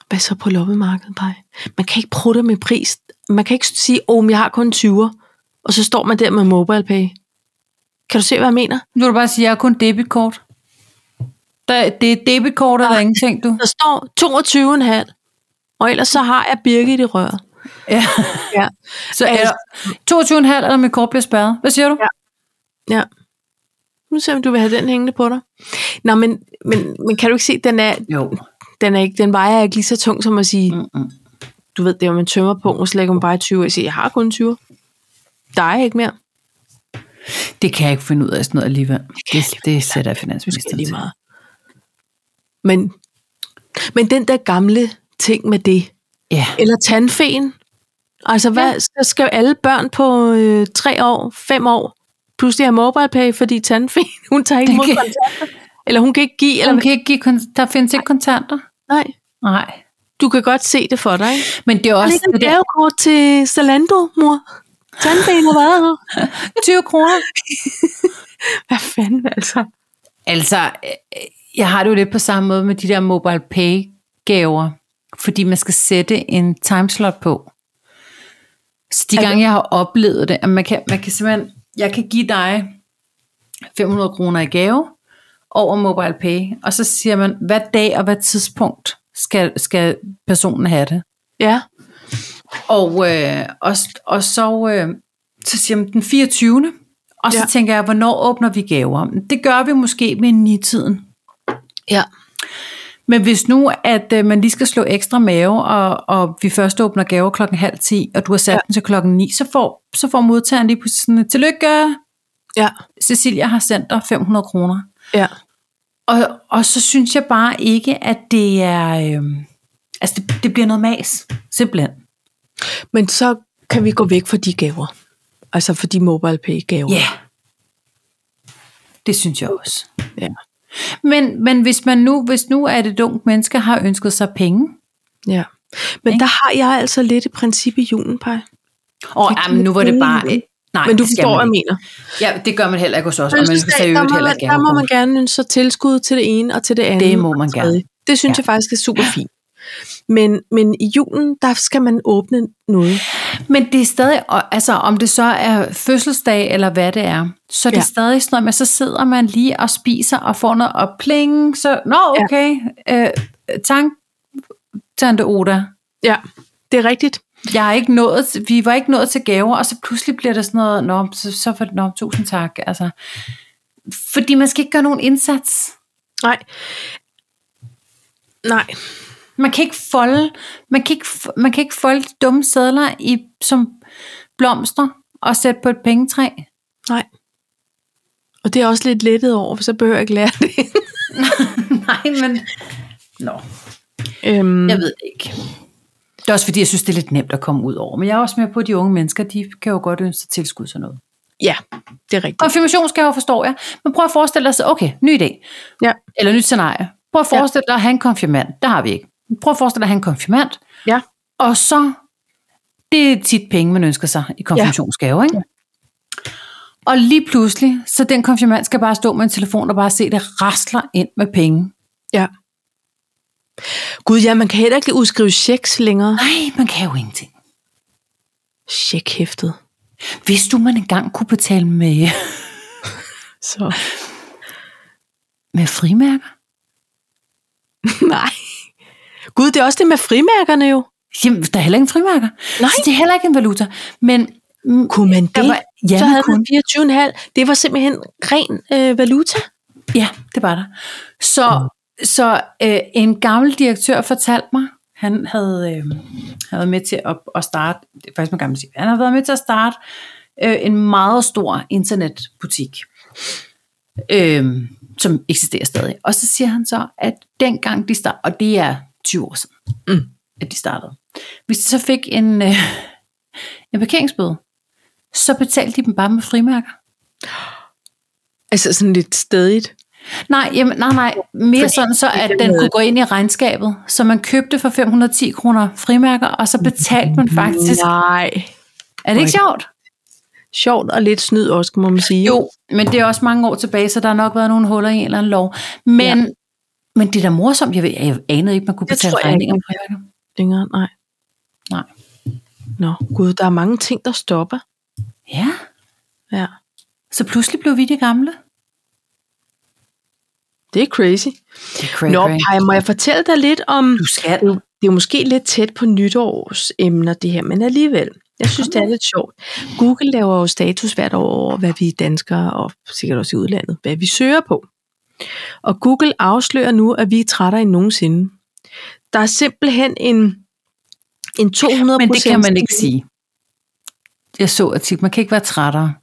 Hvad så på loppemarkedet, Paj? Man kan ikke prutte med pris. Man kan ikke sige, åh, oh, jeg har kun 20'er, og så står man der med MobilePay. Kan du se, hvad jeg mener? Nu vil du bare sige, at jeg har kun debitkort. Der, det er debitkort, og der er ingenting, du. Der står 22,5, og ellers så har jeg Birgit i røret. Ja. Ja. Så altså, er der 22,5, eller mit kort bliver spærret. Hvad siger du? Ja. Ja. Nu ser jeg, om du vil have den hængende på dig. Nå, men, men, men kan du ikke se, den er, Jo. den, er ikke, den vejer ikke lige så tung som at sige, Mm-mm. du ved, det er jo, man tømmer på, og så lægger man bare 20, og jeg siger, jeg har kun 20. Der er ikke mere. Det kan jeg ikke finde ud af sådan noget alligevel. Det, det sætter Måske finansministeren lige til. meget. Men, men den der gamle ting med det, Ja. eller tandfen, altså hvad, ja. så skal alle børn på øh, 3 år, 5 år, pludselig have mobile pay, fordi tandfen, hun tager ikke Den imod kan- kontanter, eller hun kan ikke give, eller Eller kan ikke give kon- der findes ikke kontanter. nej, Nej. du kan godt se det for dig, ikke? Men det er Der også ligger det et der gavekort til Zalando, mor. Tandfen har været her. 20 kroner. Hvad fanden altså? Altså, øh, jeg har det jo lidt på samme måde med de der mobile pay gaver, fordi man skal sætte en timeslot på. Så de Er det- gange, jeg har oplevet det, at man kan, man kan simpelthen, jeg kan give dig 500 kroner i gave over mobile pay, og så siger man, hvad dag og hvad tidspunkt skal, skal personen have det. Ja. Og, øh, og, og så, øh, så siger man den 24. Og så ja. Ja. tænker jeg, hvornår åbner vi gaver? Det gør vi måske med nitiden. Ja. Men hvis nu, at øh, man lige skal slå ekstra mave, og, og vi først åbner gaver klokken halv ti, og du har sat ja. Ja. den til klokken ni, så får, så får modtageren lige pludselig sådan, tillykke, Ja. Cecilia har sendt dig 500 kroner. Ja. Og, og så synes jeg bare ikke, at det er, øh, altså det, det bliver noget mas, simpelthen. Men så kan vi gå væk fra de gaver. Altså for de mobile pay gaver. Ja. Det synes jeg også. Ja. Men, men hvis man nu, hvis nu er det ungt menneske, har ønsket sig penge, ja. Men Ikke? der har jeg altså lidt et princip i julen, Paj. og Det jamen, nu var det giver bare... mening. Nej, Men du det skal forstår, man hvad jeg ikke. mener. Ja, det gør man heller ikke hos os, og man skal Fødselsdag, seriøst der, må heller man, ikke der må have man gerne ønske sig tilskud til det ene og til det andet. Det må man og tredje. gerne. Det synes Ja. ja. jeg faktisk er super fint. Men, men i julen, der skal man åbne noget. Men det er stadig, og altså om det så er fødselsdag eller hvad det er, så er det ja. Ja. stadig sådan noget, men så sidder man lige og spiser og får noget og pling, så, nå Ja. okay, ja. øh, tank, tante Oda, Ja, det er rigtigt. jeg er ikke nået, vi var ikke nået til gaver, og så pludselig bliver det sådan noget, nå, så, så var det, nå, tusind tak, altså. Fordi man skal ikke gøre nogen indsats. Nej. Nej. Man kan ikke folde, man kan ikke, f- man kan ikke folde de dumme sædler i, som blomster og sætte på et pengetræ. Nej. Og det er jeg også lidt lettet over, for så behøver jeg ikke lære det. Nej, men... Nå, øhm, jeg ved det ikke. Det er også fordi, jeg synes, det er lidt nemt at komme ud over. Men jeg er også med på, at de unge mennesker, de kan jo godt ønske sig tilskud sådan noget. Ja, det er rigtigt. Konfirmationsgaver forstår jeg. Men prøv at forestille dig, så, okay, ny idé. Ja. Eller nyt scenarie. Prøv at forestille dig at have en konfirmand. Det har vi ikke. Men Prøv at forestille dig at have en konfirmand. Ja. Og så, det er tit penge, man ønsker sig i konfirmationsgave, ikke? Og lige pludselig, så den konfirmand skal bare stå med en telefon og bare se, det rasler ind med penge. ja. Gud, ja, man kan heller ikke udskrive checks længere. Nej, man kan jo ingenting. Checkhæftet. Hvis du, man engang kunne betale med, Så med frimærker? nej. Gud, det er også det med frimærkerne jo. Jamen, der er heller ikke en frimærker. Nej. Så det er heller ikke en valuta. Men mm, Kunne man der det? var, ja, så man havde kunne. man 24,5. Det var simpelthen ren øh, valuta. Ja, det var der. Så, så øh, en gammel direktør fortalte mig, han havde, øh, han været med til at, at starte, det er faktisk man gammel sige, han har været med til at starte øh, en meget stor internetbutik, øh, som eksisterer stadig. Og så siger han så, at dengang de startede, og det er 20 år siden, Mm. at de startede, hvis de så fik en, øh, en parkeringsbøde, så betalte de dem bare med frimærker. Altså sådan lidt stedigt. Nej, jamen, nej, nej. Mere Fordi sådan så, at den den havde- kunne gå ind i regnskabet. Så man købte for 510 kroner frimærker, og så betalte man faktisk. Nej. Er det ikke sjovt? sjovt og lidt snyd også, må man sige. Jo, men det er også mange år tilbage, så der har nok været nogle huller i en eller anden lov. Men, ja. men det er da morsomt. Jeg, ved, jeg anede ikke, man kunne Det betale tror jeg regninger ikke. på jakker. Længere, nej. Nej. Nå, gud, der er mange ting, der stopper. Ja, Ja. så pludselig blev vi de gamle. Det er crazy. Det er Nå, Paj, må jeg fortælle dig lidt om... Du skal. Det er jo- det er jo måske lidt tæt på nytårsemner, det her, men alligevel. Jeg synes, det er lidt sjovt. Google laver jo status hvert år over, hvad vi danskere, og sikkert også i udlandet, hvad vi søger på. Og Google afslører nu, at vi er trættere end nogensinde. Der er simpelthen en, en 200 Men det kan man ikke sige. Jeg så artiklen. Man kan ikke være trættere.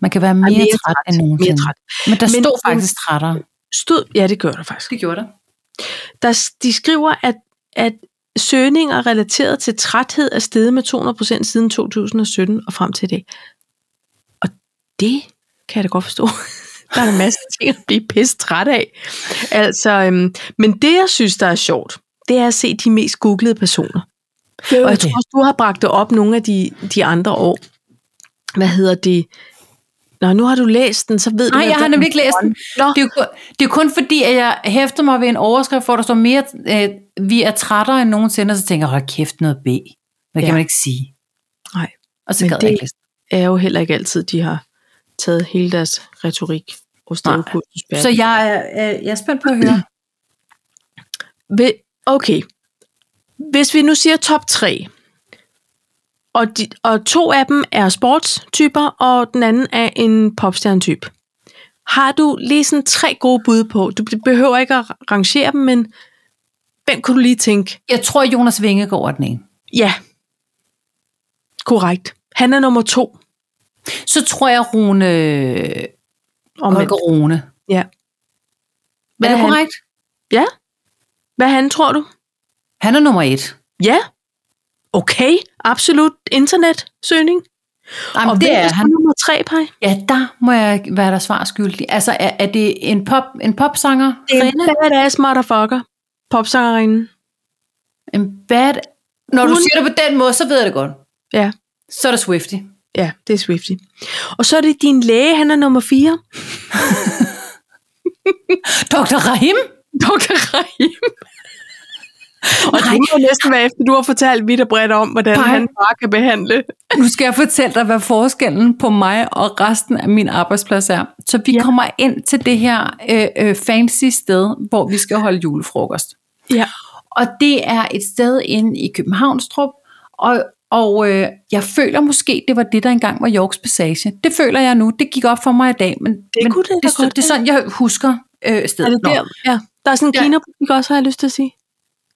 Man kan være mere, mere træt, end nogensinde. Mere træt. Men der Men- stod faktisk trættere. Stød, ja, det gør der faktisk. Det gjorde der. Der, s- de skriver, at, at søgninger relateret til træthed er steget med 200% siden 2017 og frem til i dag. Og det kan jeg da godt forstå. Der er en masse ting at blive pisse træt af. Altså, øhm, men det, jeg synes, der er sjovt, det er at se de mest googlede personer. Det Og jeg tror også, du har bragt det op nogle af de, de andre år. Hvad hedder det? Nå, nu har du læst den, så ved du... Nej, hvad jeg har den- nemlig ikke læst den. Nå, Det er, jo, kun- det er kun fordi, at jeg hæfter mig ved en overskrift, hvor der står mere, øh, vi er trættere end nogensinde, og så tænker jeg, hold kæft, noget B. Hvad ja. Ja. kan man ikke sige? Nej. Og så Men gad det... det- jeg ikke læse. er jo heller ikke altid, de har taget hele deres retorik og stadig Nej. kursusbæret. Så jeg, er, øh, jeg er spændt på at høre. Vil- Okay. Hvis vi nu siger top 3, og, de, og to af dem er sportstyper, og den anden er en popstjernetype. Har du lige sådan tre gode bud på? Du behøver ikke at rangere dem, men hvem kunne du lige tænke? Jeg tror, Jonas Vingegaard er den ene. Ja, korrekt. Han er nummer to. Så tror jeg, Rune Om Holger Rune. Ja. Er Hvad er, det han, korrekt? ja. Hvad er han, tror du? Han er nummer et. Ja. Okay, absolut internetsøgning. Jamen, og og det hvem er så han. nummer tre, Paj? Ja, der må jeg være der svar skyldig. Altså, er, er det en, pop, en popsanger? En badass motherfucker. Popsangerinde. En bad... Når du Hun- siger det på den måde, så ved jeg det godt. Ja. Så er der Swifty. Ja, det er Swifty. Og så er det din læge, han er nummer 4. Dr. Rahim? Dr. Rahim. Og det må næsten være efter, du har fortalt vidt og bredt om, hvordan Paj. han bare kan behandle. Nu skal jeg fortælle dig, hvad forskellen på mig og resten af min arbejdsplads er. Så vi Ja. ja. kommer ind til det her øh, øh, fancy sted, hvor vi skal holde julefrokost. Ja. Og det er et sted inde i Københavnstrup, og, og øh, jeg føler måske, det var det, der engang var Yorks Passage. Det føler jeg nu. Det gik op for mig i dag, men det, men kunne det da det, godt det er sådan, jeg husker øh, stedet. Er det Nå. der? Ja. Der er sådan en Ja. kinabutik også, har jeg lyst til at sige.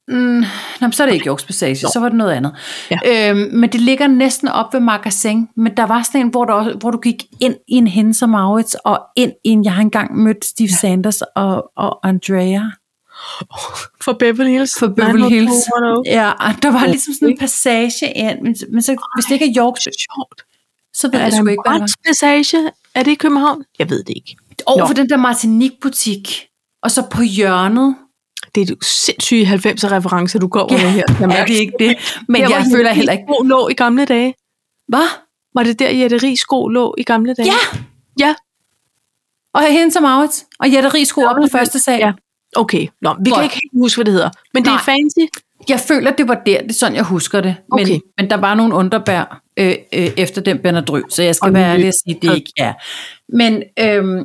Mm, nå, men så er det ikke Yorks Passage, så var det noget andet. Ja. Øhm, men det ligger næsten op ved magasin, men der var sådan en, hvor, der også, hvor du gik ind i en Hennes og Maurits, og ind i en, jeg har engang mødt Steve ja. Sanders og, og Andrea For Beverly Hills. for Beverly Hills. 90210. Ja, og der var ligesom sådan en passage ind, men, men så, hvis det ikke er Yorks, Sjovt. så ved Er jeg det sgu ikke, hvad det en passage? Er det i København? Jeg ved det ikke. var. Over Nå. for den der Martinique-butik, og så på hjørnet, Det er de sindssyge 90'er referencer, du går ja, med her. Jamen, er det ikke det? Men der, jeg, jeg hvor føler Jette heller Riis ikke, sko lå i gamle dage. hvad? Var det der, Jette Ries sko lå i gamle dage? Ja! Ja. Og Hendes og Maurits, og Jette Ries skulle op på første sal. Ja. Okay, Nå, vi kan Godt. ikke helt huske, hvad det hedder. Men det er Nej. fancy. Jeg føler, det var der, det er sådan, jeg husker det. Men, Okay. men der var nogle underbær øh, øh, efter den Benadryl, så jeg skal Og og være nyt. ærlig og sige, det er ikke er. Men øhm,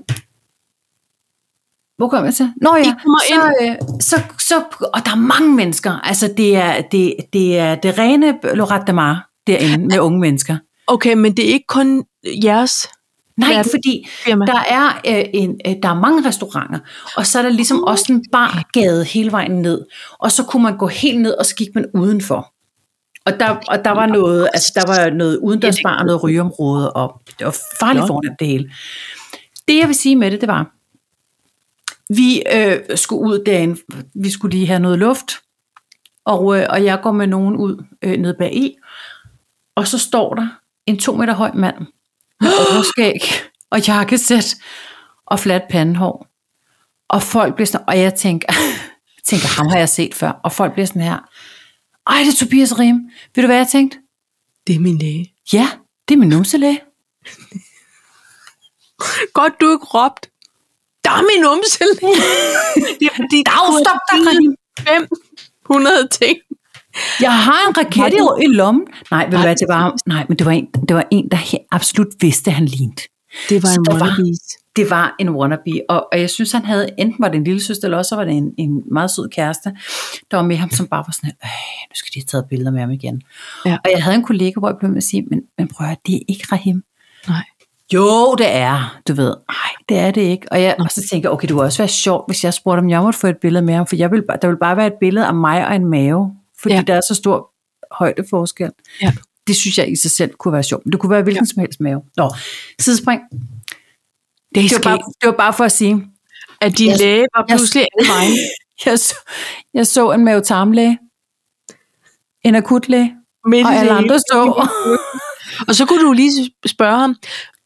hvor kom jeg til? Nå ja, I kommer så, øh, så, så, og der er mange mennesker. Altså, det er det, det, er det rene Lorette de Mar derinde med unge mennesker. Okay, men det er ikke kun jeres Hvad er Nej, det? fordi firma. der er, øh, en, øh, der er mange restauranter, og så er der ligesom også en bargade hele vejen ned. Og så kunne man gå helt ned, og så gik man udenfor. Og der, og der var noget, altså der var noget udendørsbar og noget rygeområde, og det var farligt Nå. fornemt det hele. Det jeg vil sige med det, det var, vi øh, skulle ud dagen, vi skulle lige have noget luft, og, øh, og jeg går med nogen ud øh, ned bag i, og så står der en to meter høj mand med overskæg og jakkesæt og fladt pandehår. Og folk bliver sådan, og jeg tænker, tænker, ham har jeg set før. Og folk bliver sådan her, ej, det er Tobias Rim. Ved du, hvad jeg tænkte? Det er min læge. Ja, det er min numselæge. Godt, du ikke råbt. Der er min numse. det er fordi, Dag, stop dig, Karim. 500 ting. Jeg har en raket Har i, i lommen. Nej, ved du Nej, hvad, det var, nej, men det var en, det var en der he- absolut vidste, han lignede. Det var en en wannabe. wannabe. Det var en wannabe, og, og jeg synes, han havde, enten var det en lille søster, eller også var det en, en meget sød kæreste, der var med ham, som bare var sådan, "Øh, nu skal de have taget billeder med ham igen. Ja. Og jeg havde en kollega, hvor jeg blev med at sige, men, men prøv at høre, det er ikke Rahim. Nej. Jo, det er, du ved. Nej, det er det ikke. Og, jeg, og så tænker jeg, okay, det kunne også være sjovt, hvis jeg spurgte, om jeg måtte få et billede med ham, for jeg ville, bare- der ville bare være et billede af mig og en mave, fordi ja. Ja. der er så stor højdeforskel. Ja. Det synes jeg i sig selv kunne være sjovt, men det kunne være hvilken ja. som helst mave. Nå, sidespring. Det er Det var, bare, skægt, det var bare for at sige, at din Jeg- læge var jeg- pludselig alle vejen. jeg så, jeg så en mavetarmlæge, en akutlæge, midt i og alle det andre hele. så. Og så kunne du lige spørge ham,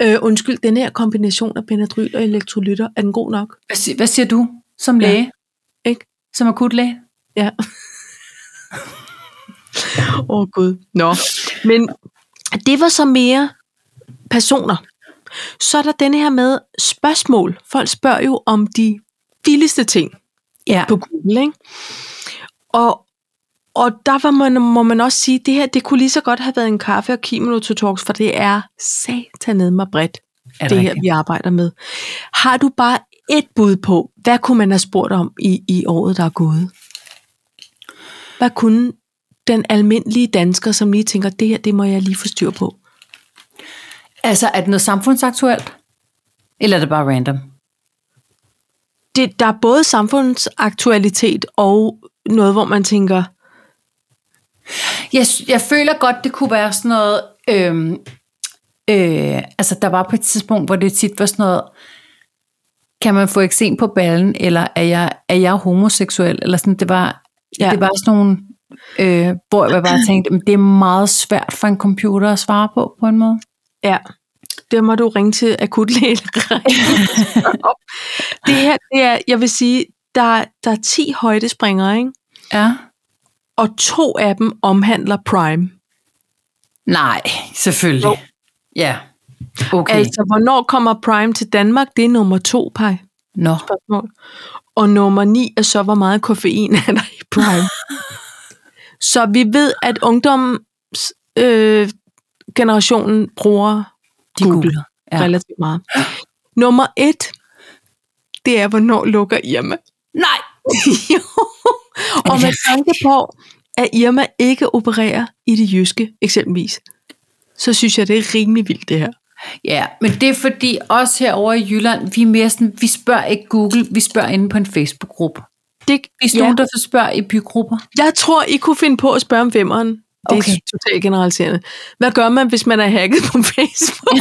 øh, undskyld, den her kombination af Benadryl og elektrolytter, er den god nok? Hvad, si- hvad siger du som Ja. læge? Ikke? Som akutlæge? Ja. Åh oh, gud. Nå. Men det var så mere personer. Så er der denne her med spørgsmål. Folk spørger jo om de vildeste ting Ja. på Google, ikke? Og, og der var man, må man også sige, det her, det kunne lige så godt have været en kaffe og kimono to talks, for det er satanede mig bredt Er det her, vi arbejder med. Har du bare et bud på, hvad kunne man have spurgt om i, i året, der er gået? Hvad kunne den almindelige dansker, som lige tænker, det her, det må jeg lige få styr på? Altså, er det noget samfundsaktuelt? Eller er det bare random? Det, der er både samfundsaktualitet og noget, hvor man tænker, Jeg, s- jeg føler godt, det kunne være sådan noget... Øhm, øh, altså, der var på et tidspunkt, hvor det tit var sådan noget... Kan man få eksem på ballen, eller er jeg, er jeg homoseksuel? Eller sådan, det var, ja. Ja. det var sådan nogle... Øh, hvor jeg bare tænkte, men det er meget svært for en computer at svare på, på en måde. ja, der må du ringe til akutlæge. det her, det er, jeg vil sige, der, der er 10 højdespringere, ikke? Ja. og to af dem omhandler Prime. Nej, selvfølgelig. Jo. Ja. Okay. Altså, Altså, hvornår kommer Prime til Danmark? Det er nummer to, Paj. Nå. Spørgsmål. Og nummer ni er så, hvor meget koffein er der i Prime. så vi ved, at ungdoms øh, generationen bruger De Google. googler. Ja. ja. relativt meget. Nummer et, det er, hvornår lukker Irma? Nej! jo. Og med tanke på, at Irma ikke opererer i det jyske, eksempelvis, så synes jeg, det er rimelig vildt, det her. Ja, men det er fordi, os herovre i Jylland, vi er mere sådan, vi spørger ikke Google, vi spørger inde på en Facebook-gruppe. Det, Vi er ja. nogen, der spørger i bygrupper. Jeg tror, I kunne finde på at spørge om femmeren. Det Okay. okay. er totalt generaliserende. Hvad gør man, hvis man er hacket på Facebook?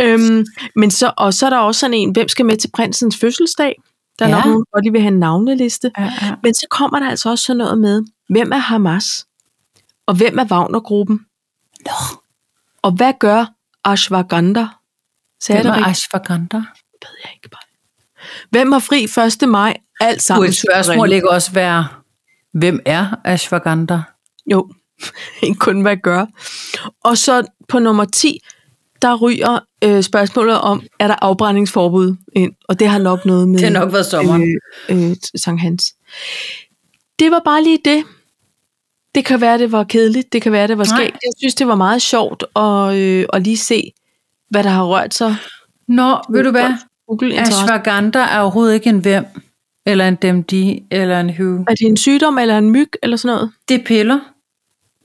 øhm, men så, og så er der også sådan en, hvem skal med til prinsens fødselsdag? Der er Ja. ja. nok nogen, der godt lige vil have en navneliste. Ja, ja. Men så kommer der altså også sådan noget med, hvem er Hamas? Og hvem er Wagner-gruppen? Nå, Og hvad gør Ashwagandha? Sagde det jeg det var rigtigt? ashwagandha. Ved jeg ikke bare. Hvem har fri 1. maj? Alt sammen. Kunne et spørgsmål ikke også være, hvem er ashwagandha? Jo, ikke kun hvad jeg gør. Og så på nummer 10, der ryger øh, spørgsmålet om, er der afbrændingsforbud ind? Og det har nok noget med Det har nok været sommeren. Øh, øh, Sankt Hans. Det var bare lige det. Det kan være, det var kedeligt. Det kan være, det var Nej. skægt. Jeg synes, det var meget sjovt at, øh, at lige se, hvad der har rørt sig. Nå, ved du hvad? Google interesse. Ashwagandha er overhovedet ikke en hvem, eller en DMD, eller en who. Er det en sygdom eller en myg eller sådan noget? Det er piller.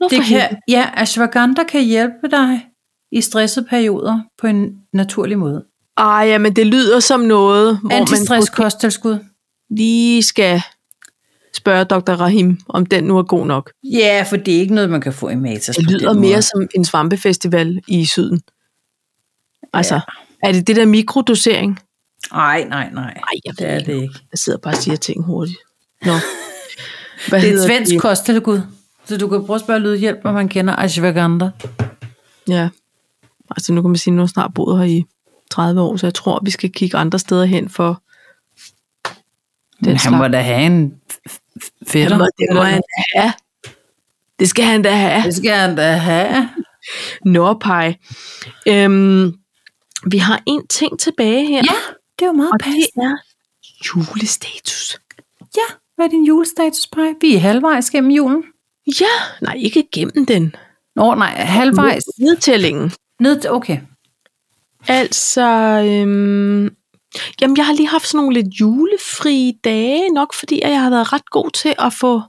Nå, Det for helvede. kan, ja, ashwagandha kan hjælpe dig i stressede perioder på en naturlig måde. Ej, ja, men det lyder som noget, hvor man Antistress kosttilskud. lige skal spørge dr. Rahim, om den nu er god nok. Ja, for det er ikke noget, man kan få i Matas. Det på lyder den mere måde. som en svampefestival i syden. Altså, ja. er det det der mikrodosering? Nej, nej, nej. Nej, jeg Det er det ikke. Jeg sidder bare og siger ting hurtigt. Nå. Hvad Det er et hedder svensk kosttilskud. Så du kan prøve at spørge lydhjælp, om man kender ashwagandha. Ja. Altså, nu kan man sige, at nu har jeg snart boet her i 30 år, så jeg tror, vi skal kigge andre steder hen for... Den han slags- må da have en f- f- fætter. det må han da have. Det skal han da have. Det skal han da have. Nordpej. Øhm, vi har en ting tilbage her, Ja, det er jo meget og det passende. er julestatus. Ja, hvad er din julestatus, Paj? Vi er halvvejs gennem julen. Ja, nej, ikke gennem den. Nå, nej, halvvejs. Nedtællingen. Ned til, okay. Altså, øhm, jamen jeg har lige haft sådan nogle lidt julefrie dage, nok fordi at jeg har været ret god til at få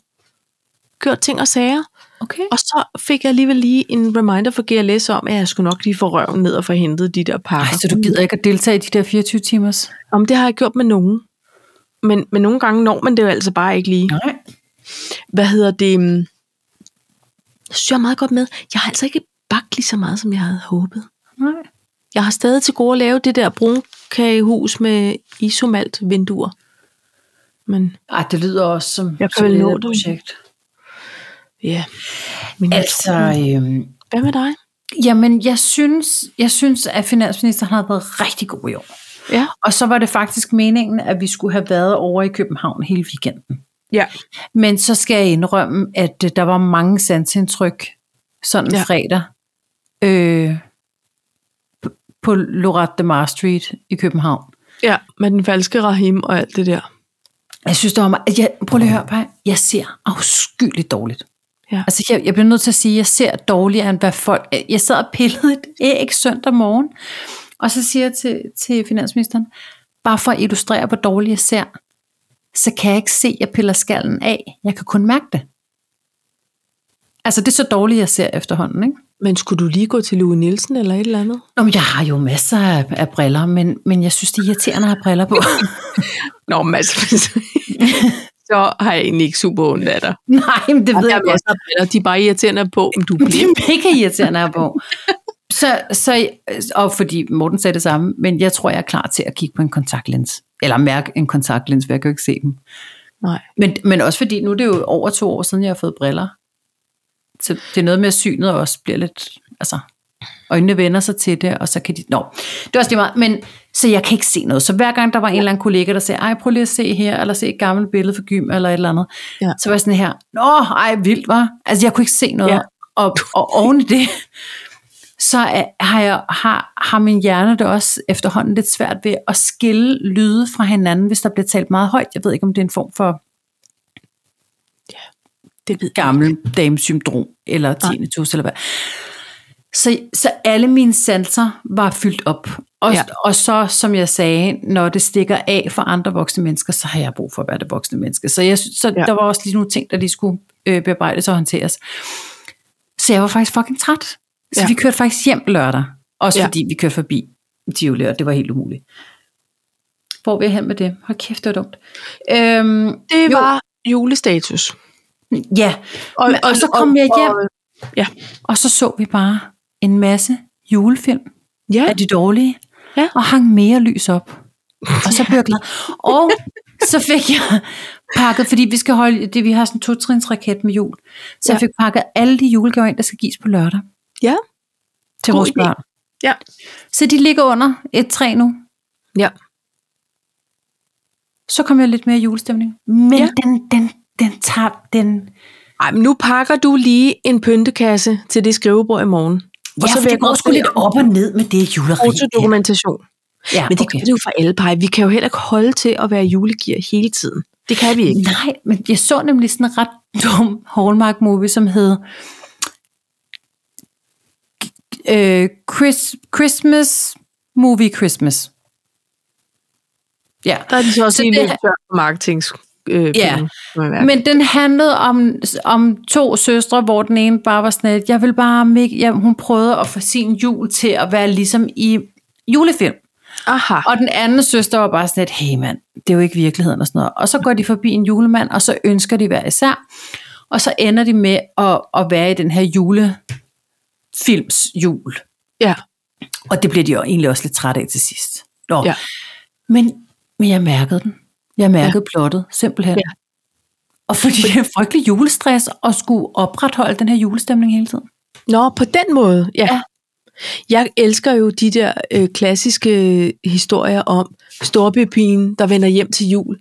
gjort ting og sager. Okay. Og så fik jeg alligevel lige en reminder for GLS om, at jeg skulle nok lige få røven ned og få hentet de der pakker. Ej, så du gider ikke at deltage i de der 24 timers? Om det har jeg gjort med nogen. Men, men nogle gange når man det jo altså bare ikke lige. Nej. Hvad hedder det? øhm, Jeg synes, jeg er meget godt med. Jeg har altså ikke bagt lige så meget, som jeg havde håbet. Nej. Jeg har stadig til gode at lave det der brunkagehus med isomalt vinduer. Men Ej, det lyder også som, Jeg kan som vel et nå andet det. projekt. ja. Men Altså, øhm, Hvad med dig? jamen, jeg synes, jeg synes, at finansministeren har været rigtig god i år. Ja. Og så var det faktisk meningen, at vi skulle have været over i København hele weekenden. Ja. Men så skal jeg indrømme, at øh, der var mange sansindtryk sådan ja. Ja. fredag øh, p- på Lorette de Mar Street i København. Ja, med den falske Rahim og alt det der. Jeg synes, der var meget... Jeg, prøv lige at høre, Paj. Jeg ser afskyeligt dårligt. Ja. Altså, jeg, jeg bliver nødt til at sige, at jeg ser dårligere, end hvad folk... Jeg sad og pillede et æg søndag morgen, og så siger jeg til, til finansministeren, bare for at illustrere, hvor dårligt jeg ser, så kan jeg ikke se, at jeg piller skallen af. Jeg kan kun mærke det. Altså, det er så dårligt, jeg ser efterhånden, ikke? Men skulle du lige gå til Lue Nielsen eller et eller andet? Nå, men jeg har jo masser af, af briller, men, men jeg synes, det er irriterende at have briller på. Nå, men altså, så har jeg egentlig ikke super ondt af dig. Nej, men det ved Der jeg er masser af briller, de er bare irriterende på, om du Det bliver. er mega irriterende at have på. Så, så, og fordi Morten sagde det samme, men jeg tror, jeg er klar til at kigge på en kontaktlens. Eller mærke en kontaktlens, for jeg kan jo ikke se dem. Nej. Men, men også fordi, nu er det jo over to år siden, jeg har fået briller. Så det er noget med, at synet også bliver lidt... Altså, øjnene vender sig til det, og så kan de... Nå, det er også lige meget. Men, så jeg kan ikke se noget. Så hver gang der var en eller anden kollega, der sagde, ej, prøv lige at se her, eller se et gammelt billede fra gym, eller et eller andet. Ja. Så var jeg sådan her, nå, ej, vildt, var. Altså, jeg kunne ikke se noget. Ja. Ja. Og, og oven i det, så er- har, jeg, har, har min hjerne det også efterhånden lidt svært ved at skille lyde fra hinanden, hvis der bliver talt meget højt. Jeg ved ikke, om det er en form for Det ved jeg. gammel damesyndrom, eller tinnitus, eller hvad. Så, så alle mine sanser var fyldt op. Og, ja. Ja. og så, som jeg sagde, når det stikker af for andre voksne mennesker, så har jeg brug for at være det voksne menneske. Så, jeg, synes- så ja. Ja. der var også lige nogle ting, der lige skulle øh, bearbejdes og håndteres. Så jeg var faktisk fucking træt. Så ja. Ja. vi kørte faktisk hjem lørdag. Også ja. Ja. fordi vi kørte forbi Tivoli, og det var helt umuligt. Hvor vil jeg hen med det? Hold kæft, det var dumt. Øhm, Det Jo. var julestatus. ja, Og, Men- og så kom jeg hjem. og- Og så så vi bare en masse julefilm ja, af de dårlige, Ja. og hang mere lys op. Og så blev jeg glad. Og så fik jeg pakket, fordi vi skal holde, det, vi har sådan en to-trins raket med jul, så ja. jeg Ja. fik pakket alle de julegaver ind, der skal gives på lørdag ja, til God vores idé. børn. Ja. Så de ligger under et træ nu. ja. Så kom jeg lidt mere i julestemning. Men ja. Ja. den, den, den tager den... Ej, men nu pakker du lige en pyntekasse til det skrivebord i morgen. Ja, for det går sgu lidt op og ned med det juleri. fotodokumentation. Ja, Men det okay. kan det jo for alle pege. Vi kan jo heller ikke holde til at være julegear hele tiden. Det kan vi ikke. Nej, men jeg så nemlig sådan en ret dum Hallmark-movie, som hed øh, Chris, Christmas Movie Christmas. Ja, Der er de så også Så så lige det- det... lidt tør for marketings. Øh, Ja. penge, må man mærke. men den handlede om, om to søstre, hvor den ene bare var sådan, at jeg vil bare, make, ja, hun prøvede at få sin jul til at være ligesom i julefilm. Aha. Og den anden søster var bare sådan lidt, hey mand, det er jo ikke virkeligheden og sådan noget. Og så går de forbi en julemand, og så ønsker de hver især. Og så ender de med at, at være i den her julefilms jul. Ja. Og det bliver de jo egentlig også lidt trætte af til sidst. Nå. Ja. Men, men jeg mærkede den. Jeg mærkede ja. plottet, simpelthen. Ja. Ja. Og fordi det er frygtelig julestress at skulle opretholde den her julestemning hele tiden. Nå, på den måde, ja. Ja. ja. Jeg elsker jo de der øh, klassiske historier om storbypigen, der vender hjem til jul.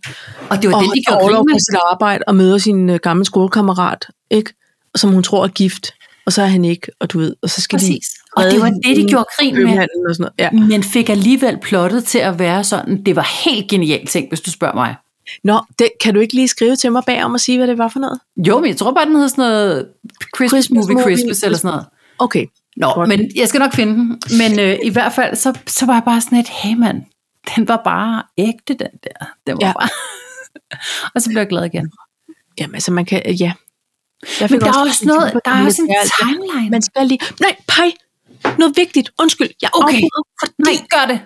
Og det var og det, de holder gjorde orlov grin med. på sit arbejde og møder sin øh, gamle skolekammerat, ikke? som hun tror er gift. og så er han ikke, og du ved, og så skal Præcis. Mm. de... Og det redde øhm, var hende det, de inden gjorde grin med. købmanden Og sådan noget. Ja. men fik alligevel plottet til at være sådan. Det var helt genialt ting, hvis du spørger mig. Nå, det, kan du ikke lige skrive til mig bagom og sige, hvad det var for noget? Jo, men jeg tror bare, den hed sådan noget Christmas, Christmas Movie Movie Christmas eller sådan noget. Okay, Nå, Godt. men jeg skal nok finde den. Men øh, i hvert fald, så, så var jeg bare sådan et, hey mand, den var bare ægte, den der. Den var ja. Ja. bare... og så blev jeg glad igen. jamen altså man kan, ja. Jeg Men fik der er også tanker noget, på der det er med også en det her. timeline. Man skal lige, nej, pej, noget vigtigt, undskyld, jeg Okay. afbryder, fordi Nej, gør det.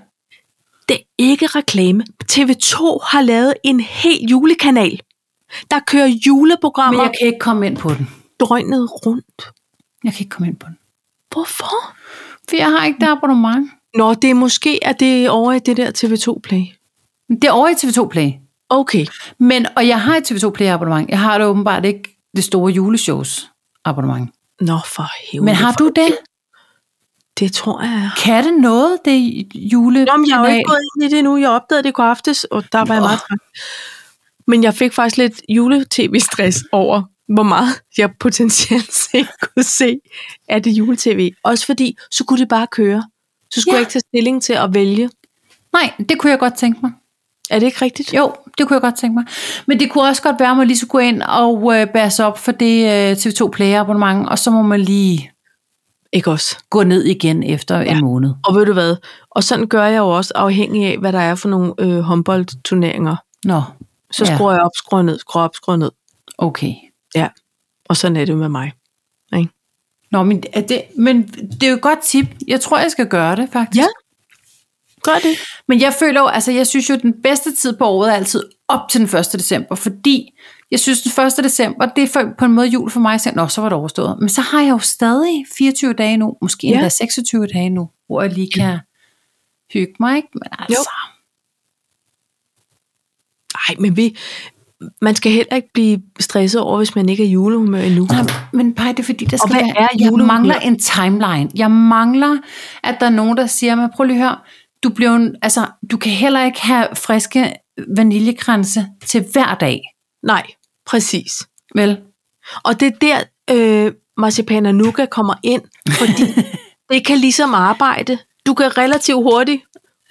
Det er ikke reklame. TV2 har lavet en hel julekanal, der kører Men juleprogrammer jeg kan ikke komme ind på den. døgnet rundt. Jeg kan ikke komme ind på den. Hvorfor? For jeg har ikke det abonnement. Nå, det er måske, at det er over i det der TV2 Play. Men Det er over i TV2 Play. Okay. Men, og jeg har et TV2 Play abonnement. Jeg har det åbenbart ikke det store juleshows abonnement. Nå, for helvede. Men har du det? Det tror jeg, jeg har. Kan det noget, det jule? Nå, men jeg har jo ikke gået ind i det nu. Jeg opdagede det i går aftes, og der var jeg Nå. meget træt. Men jeg fik faktisk lidt juletv-stress over, hvor meget jeg potentielt set kunne se af det juletv. Også fordi, så kunne det bare køre. Så Ja. skulle ja. jeg ikke tage stilling til at vælge. Nej, det kunne jeg godt tænke mig. Er det ikke rigtigt? Jo, det kunne jeg godt tænke mig. Men det kunne også godt være, at man lige skulle gå ind og øh, bære sig op for det øh, TV2 Play abonnement, og så må man lige Ikke også. gå ned igen efter ja. Ja. en måned. Og ved du hvad? Og sådan gør jeg jo også, afhængig af, hvad der er for nogle øh, håndboldturneringer. Nå, Så Ja. ja. skruer jeg op, skruer ned, skruer op, skruer ned. okay. Ja. Og sådan er det jo med mig. Nå, men er det, men det er jo et godt tip. Jeg tror, jeg skal gøre det, faktisk. Ja. Gør det. Men jeg føler jo, altså jeg synes jo, at den bedste tid på året er altid op til den 1. december, fordi jeg synes, den 1. december, det er for, på en måde jul for mig, så, nå, så var det overstået. Men så har jeg jo stadig 24 dage nu, måske Ja. endda 26 dage nu, hvor jeg lige kan hygge mig, ikke? Men altså, Nej, men vi, man skal heller ikke blive stresset over, hvis man ikke er i julehumør endnu. Nej, men bare det er fordi, der skal hvad være, er jeg julehumør? mangler en timeline. Jeg mangler, at der er nogen, der siger, men prøv lige at høre, du, bliver jo en, altså, du kan heller ikke have friske vaniljekranse til hver dag, Nej, præcis. vel? Og det er der, øh, marcipan og nougat kommer ind, fordi det kan ligesom arbejde. Du kan relativt hurtigt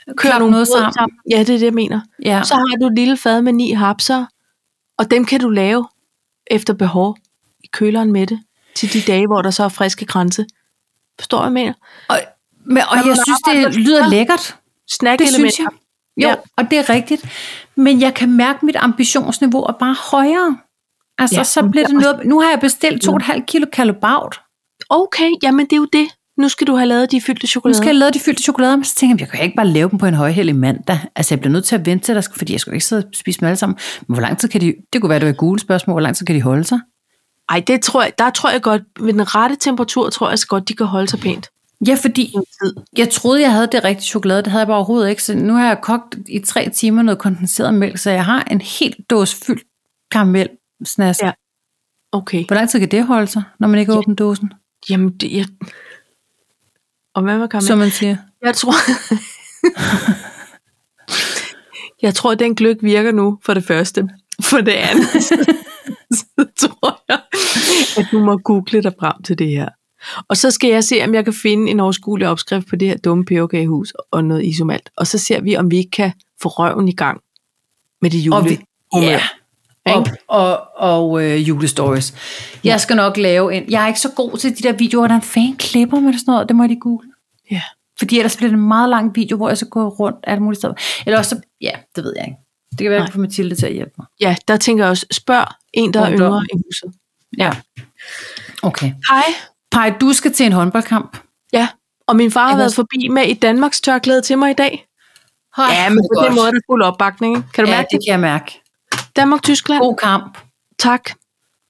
køre Klappe nogle noget brød sammen. Ja, det er det, jeg mener. Ja. Så har du et lille fad med ni hapser, og dem kan du lave efter behov i køleren med det, til de dage, hvor der så er friske grænse. Forstår du, hvad jeg mener? Og, men, og jeg man synes, arbejder det lyder lækkert. Snack Det synes jeg. Jo, Ja. og det er rigtigt. Men jeg kan mærke, at mit ambitionsniveau er bare højere. Altså, ja, Ja, så men bliver jeg det er også- Mm. noget... Nu har jeg bestilt 2,5 kilo kalobaut. Okay, jamen det er jo det. Nu skal du have lavet de fyldte Nu chokolader. skal jeg lave de fyldte chokolader, men så tænker jeg, jeg kan ikke bare lave dem på en højhældig mandag. Altså, jeg bliver nødt til at vente til, der skal, fordi jeg skal jo ikke sidde og spise dem alle sammen. Men hvor lang tid kan de... Det kunne være, det var et gule spørgsmål. Hvor lang tid kan de holde sig? Ej, det tror jeg, der tror jeg godt, ved den rette temperatur, tror jeg så godt, de kan holde sig pænt. Ja, fordi jeg troede, jeg havde det rigtige chokolade. Det havde jeg bare overhovedet ikke. Så nu har jeg kogt i tre timer noget kondenseret mælk, så jeg har en helt dåse fyldt karamel snask. Ja. Ja. Okay, Hvor lang tid kan det holde sig, når man ikke ja. åbner dåsen, jamen det, jeg... Og hvad med som karamel? man siger? Jeg tror... jeg tror, den gløk virker nu, for det første. For det andet, så, så tror jeg, at du må google dig frem til det her. Og så skal jeg se, om jeg kan finde en overskuelig opskrift på det her dumme peberkagehus og noget isomalt. Og så ser vi, om vi ikke kan få røven i gang med det jule. Og vi, ja. Og, Ikke? og, og øh, julestories. Jeg skal nok lave en... Jeg er ikke så god til de der videoer, hvordan fanden klipper man og sådan noget. Det må jeg lige google. Ja. Fordi ellers bliver det en meget lang video, hvor jeg så går rundt alle mulige steder. Eller også, så- ja, det ved jeg ikke. Det kan være, jeg Nej. kan få Mathilde til at hjælpe mig. ja, der tænker jeg også, spørg en, der er Ungdom. yngre i huset. Ja. Okay. Hej. Pej, du skal til en håndboldkamp. Ja, og min far har Jeg været kan- forbi med et Danmarks tørklæde til mig i dag. Hold Ja, men på godt. den måde er det fuld opbakning. ikke? Kan du Ja, mærke det det? kan jeg mærke. Danmark-Tyskland. God kamp. Tak.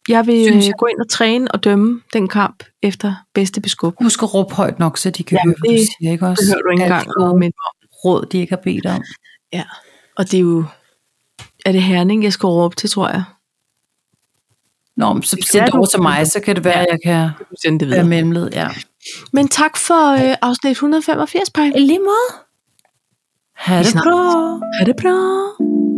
Jeg vil Synes Synes jeg. jeg. gå ind og træne og dømme den kamp efter bedste beskub. Husk at råbe højt nok, så de kan Ja, høre, hvad du det siger, ikke også? Det hører du ikke Alt engang det noget gode med. råd, de ikke har bedt om. Ja. Og det er jo... Er det herning, jeg skal råbe til, tror jeg? Nå, men så Det send er det du. over til mig, så kan det være, at jeg kan Send det være videre. mellemled. Ja. Øhm, Men tak for øh, afsnit 185, Paj. I lige måde. Ha' Vi det snakkes. bra. Ha' det bra.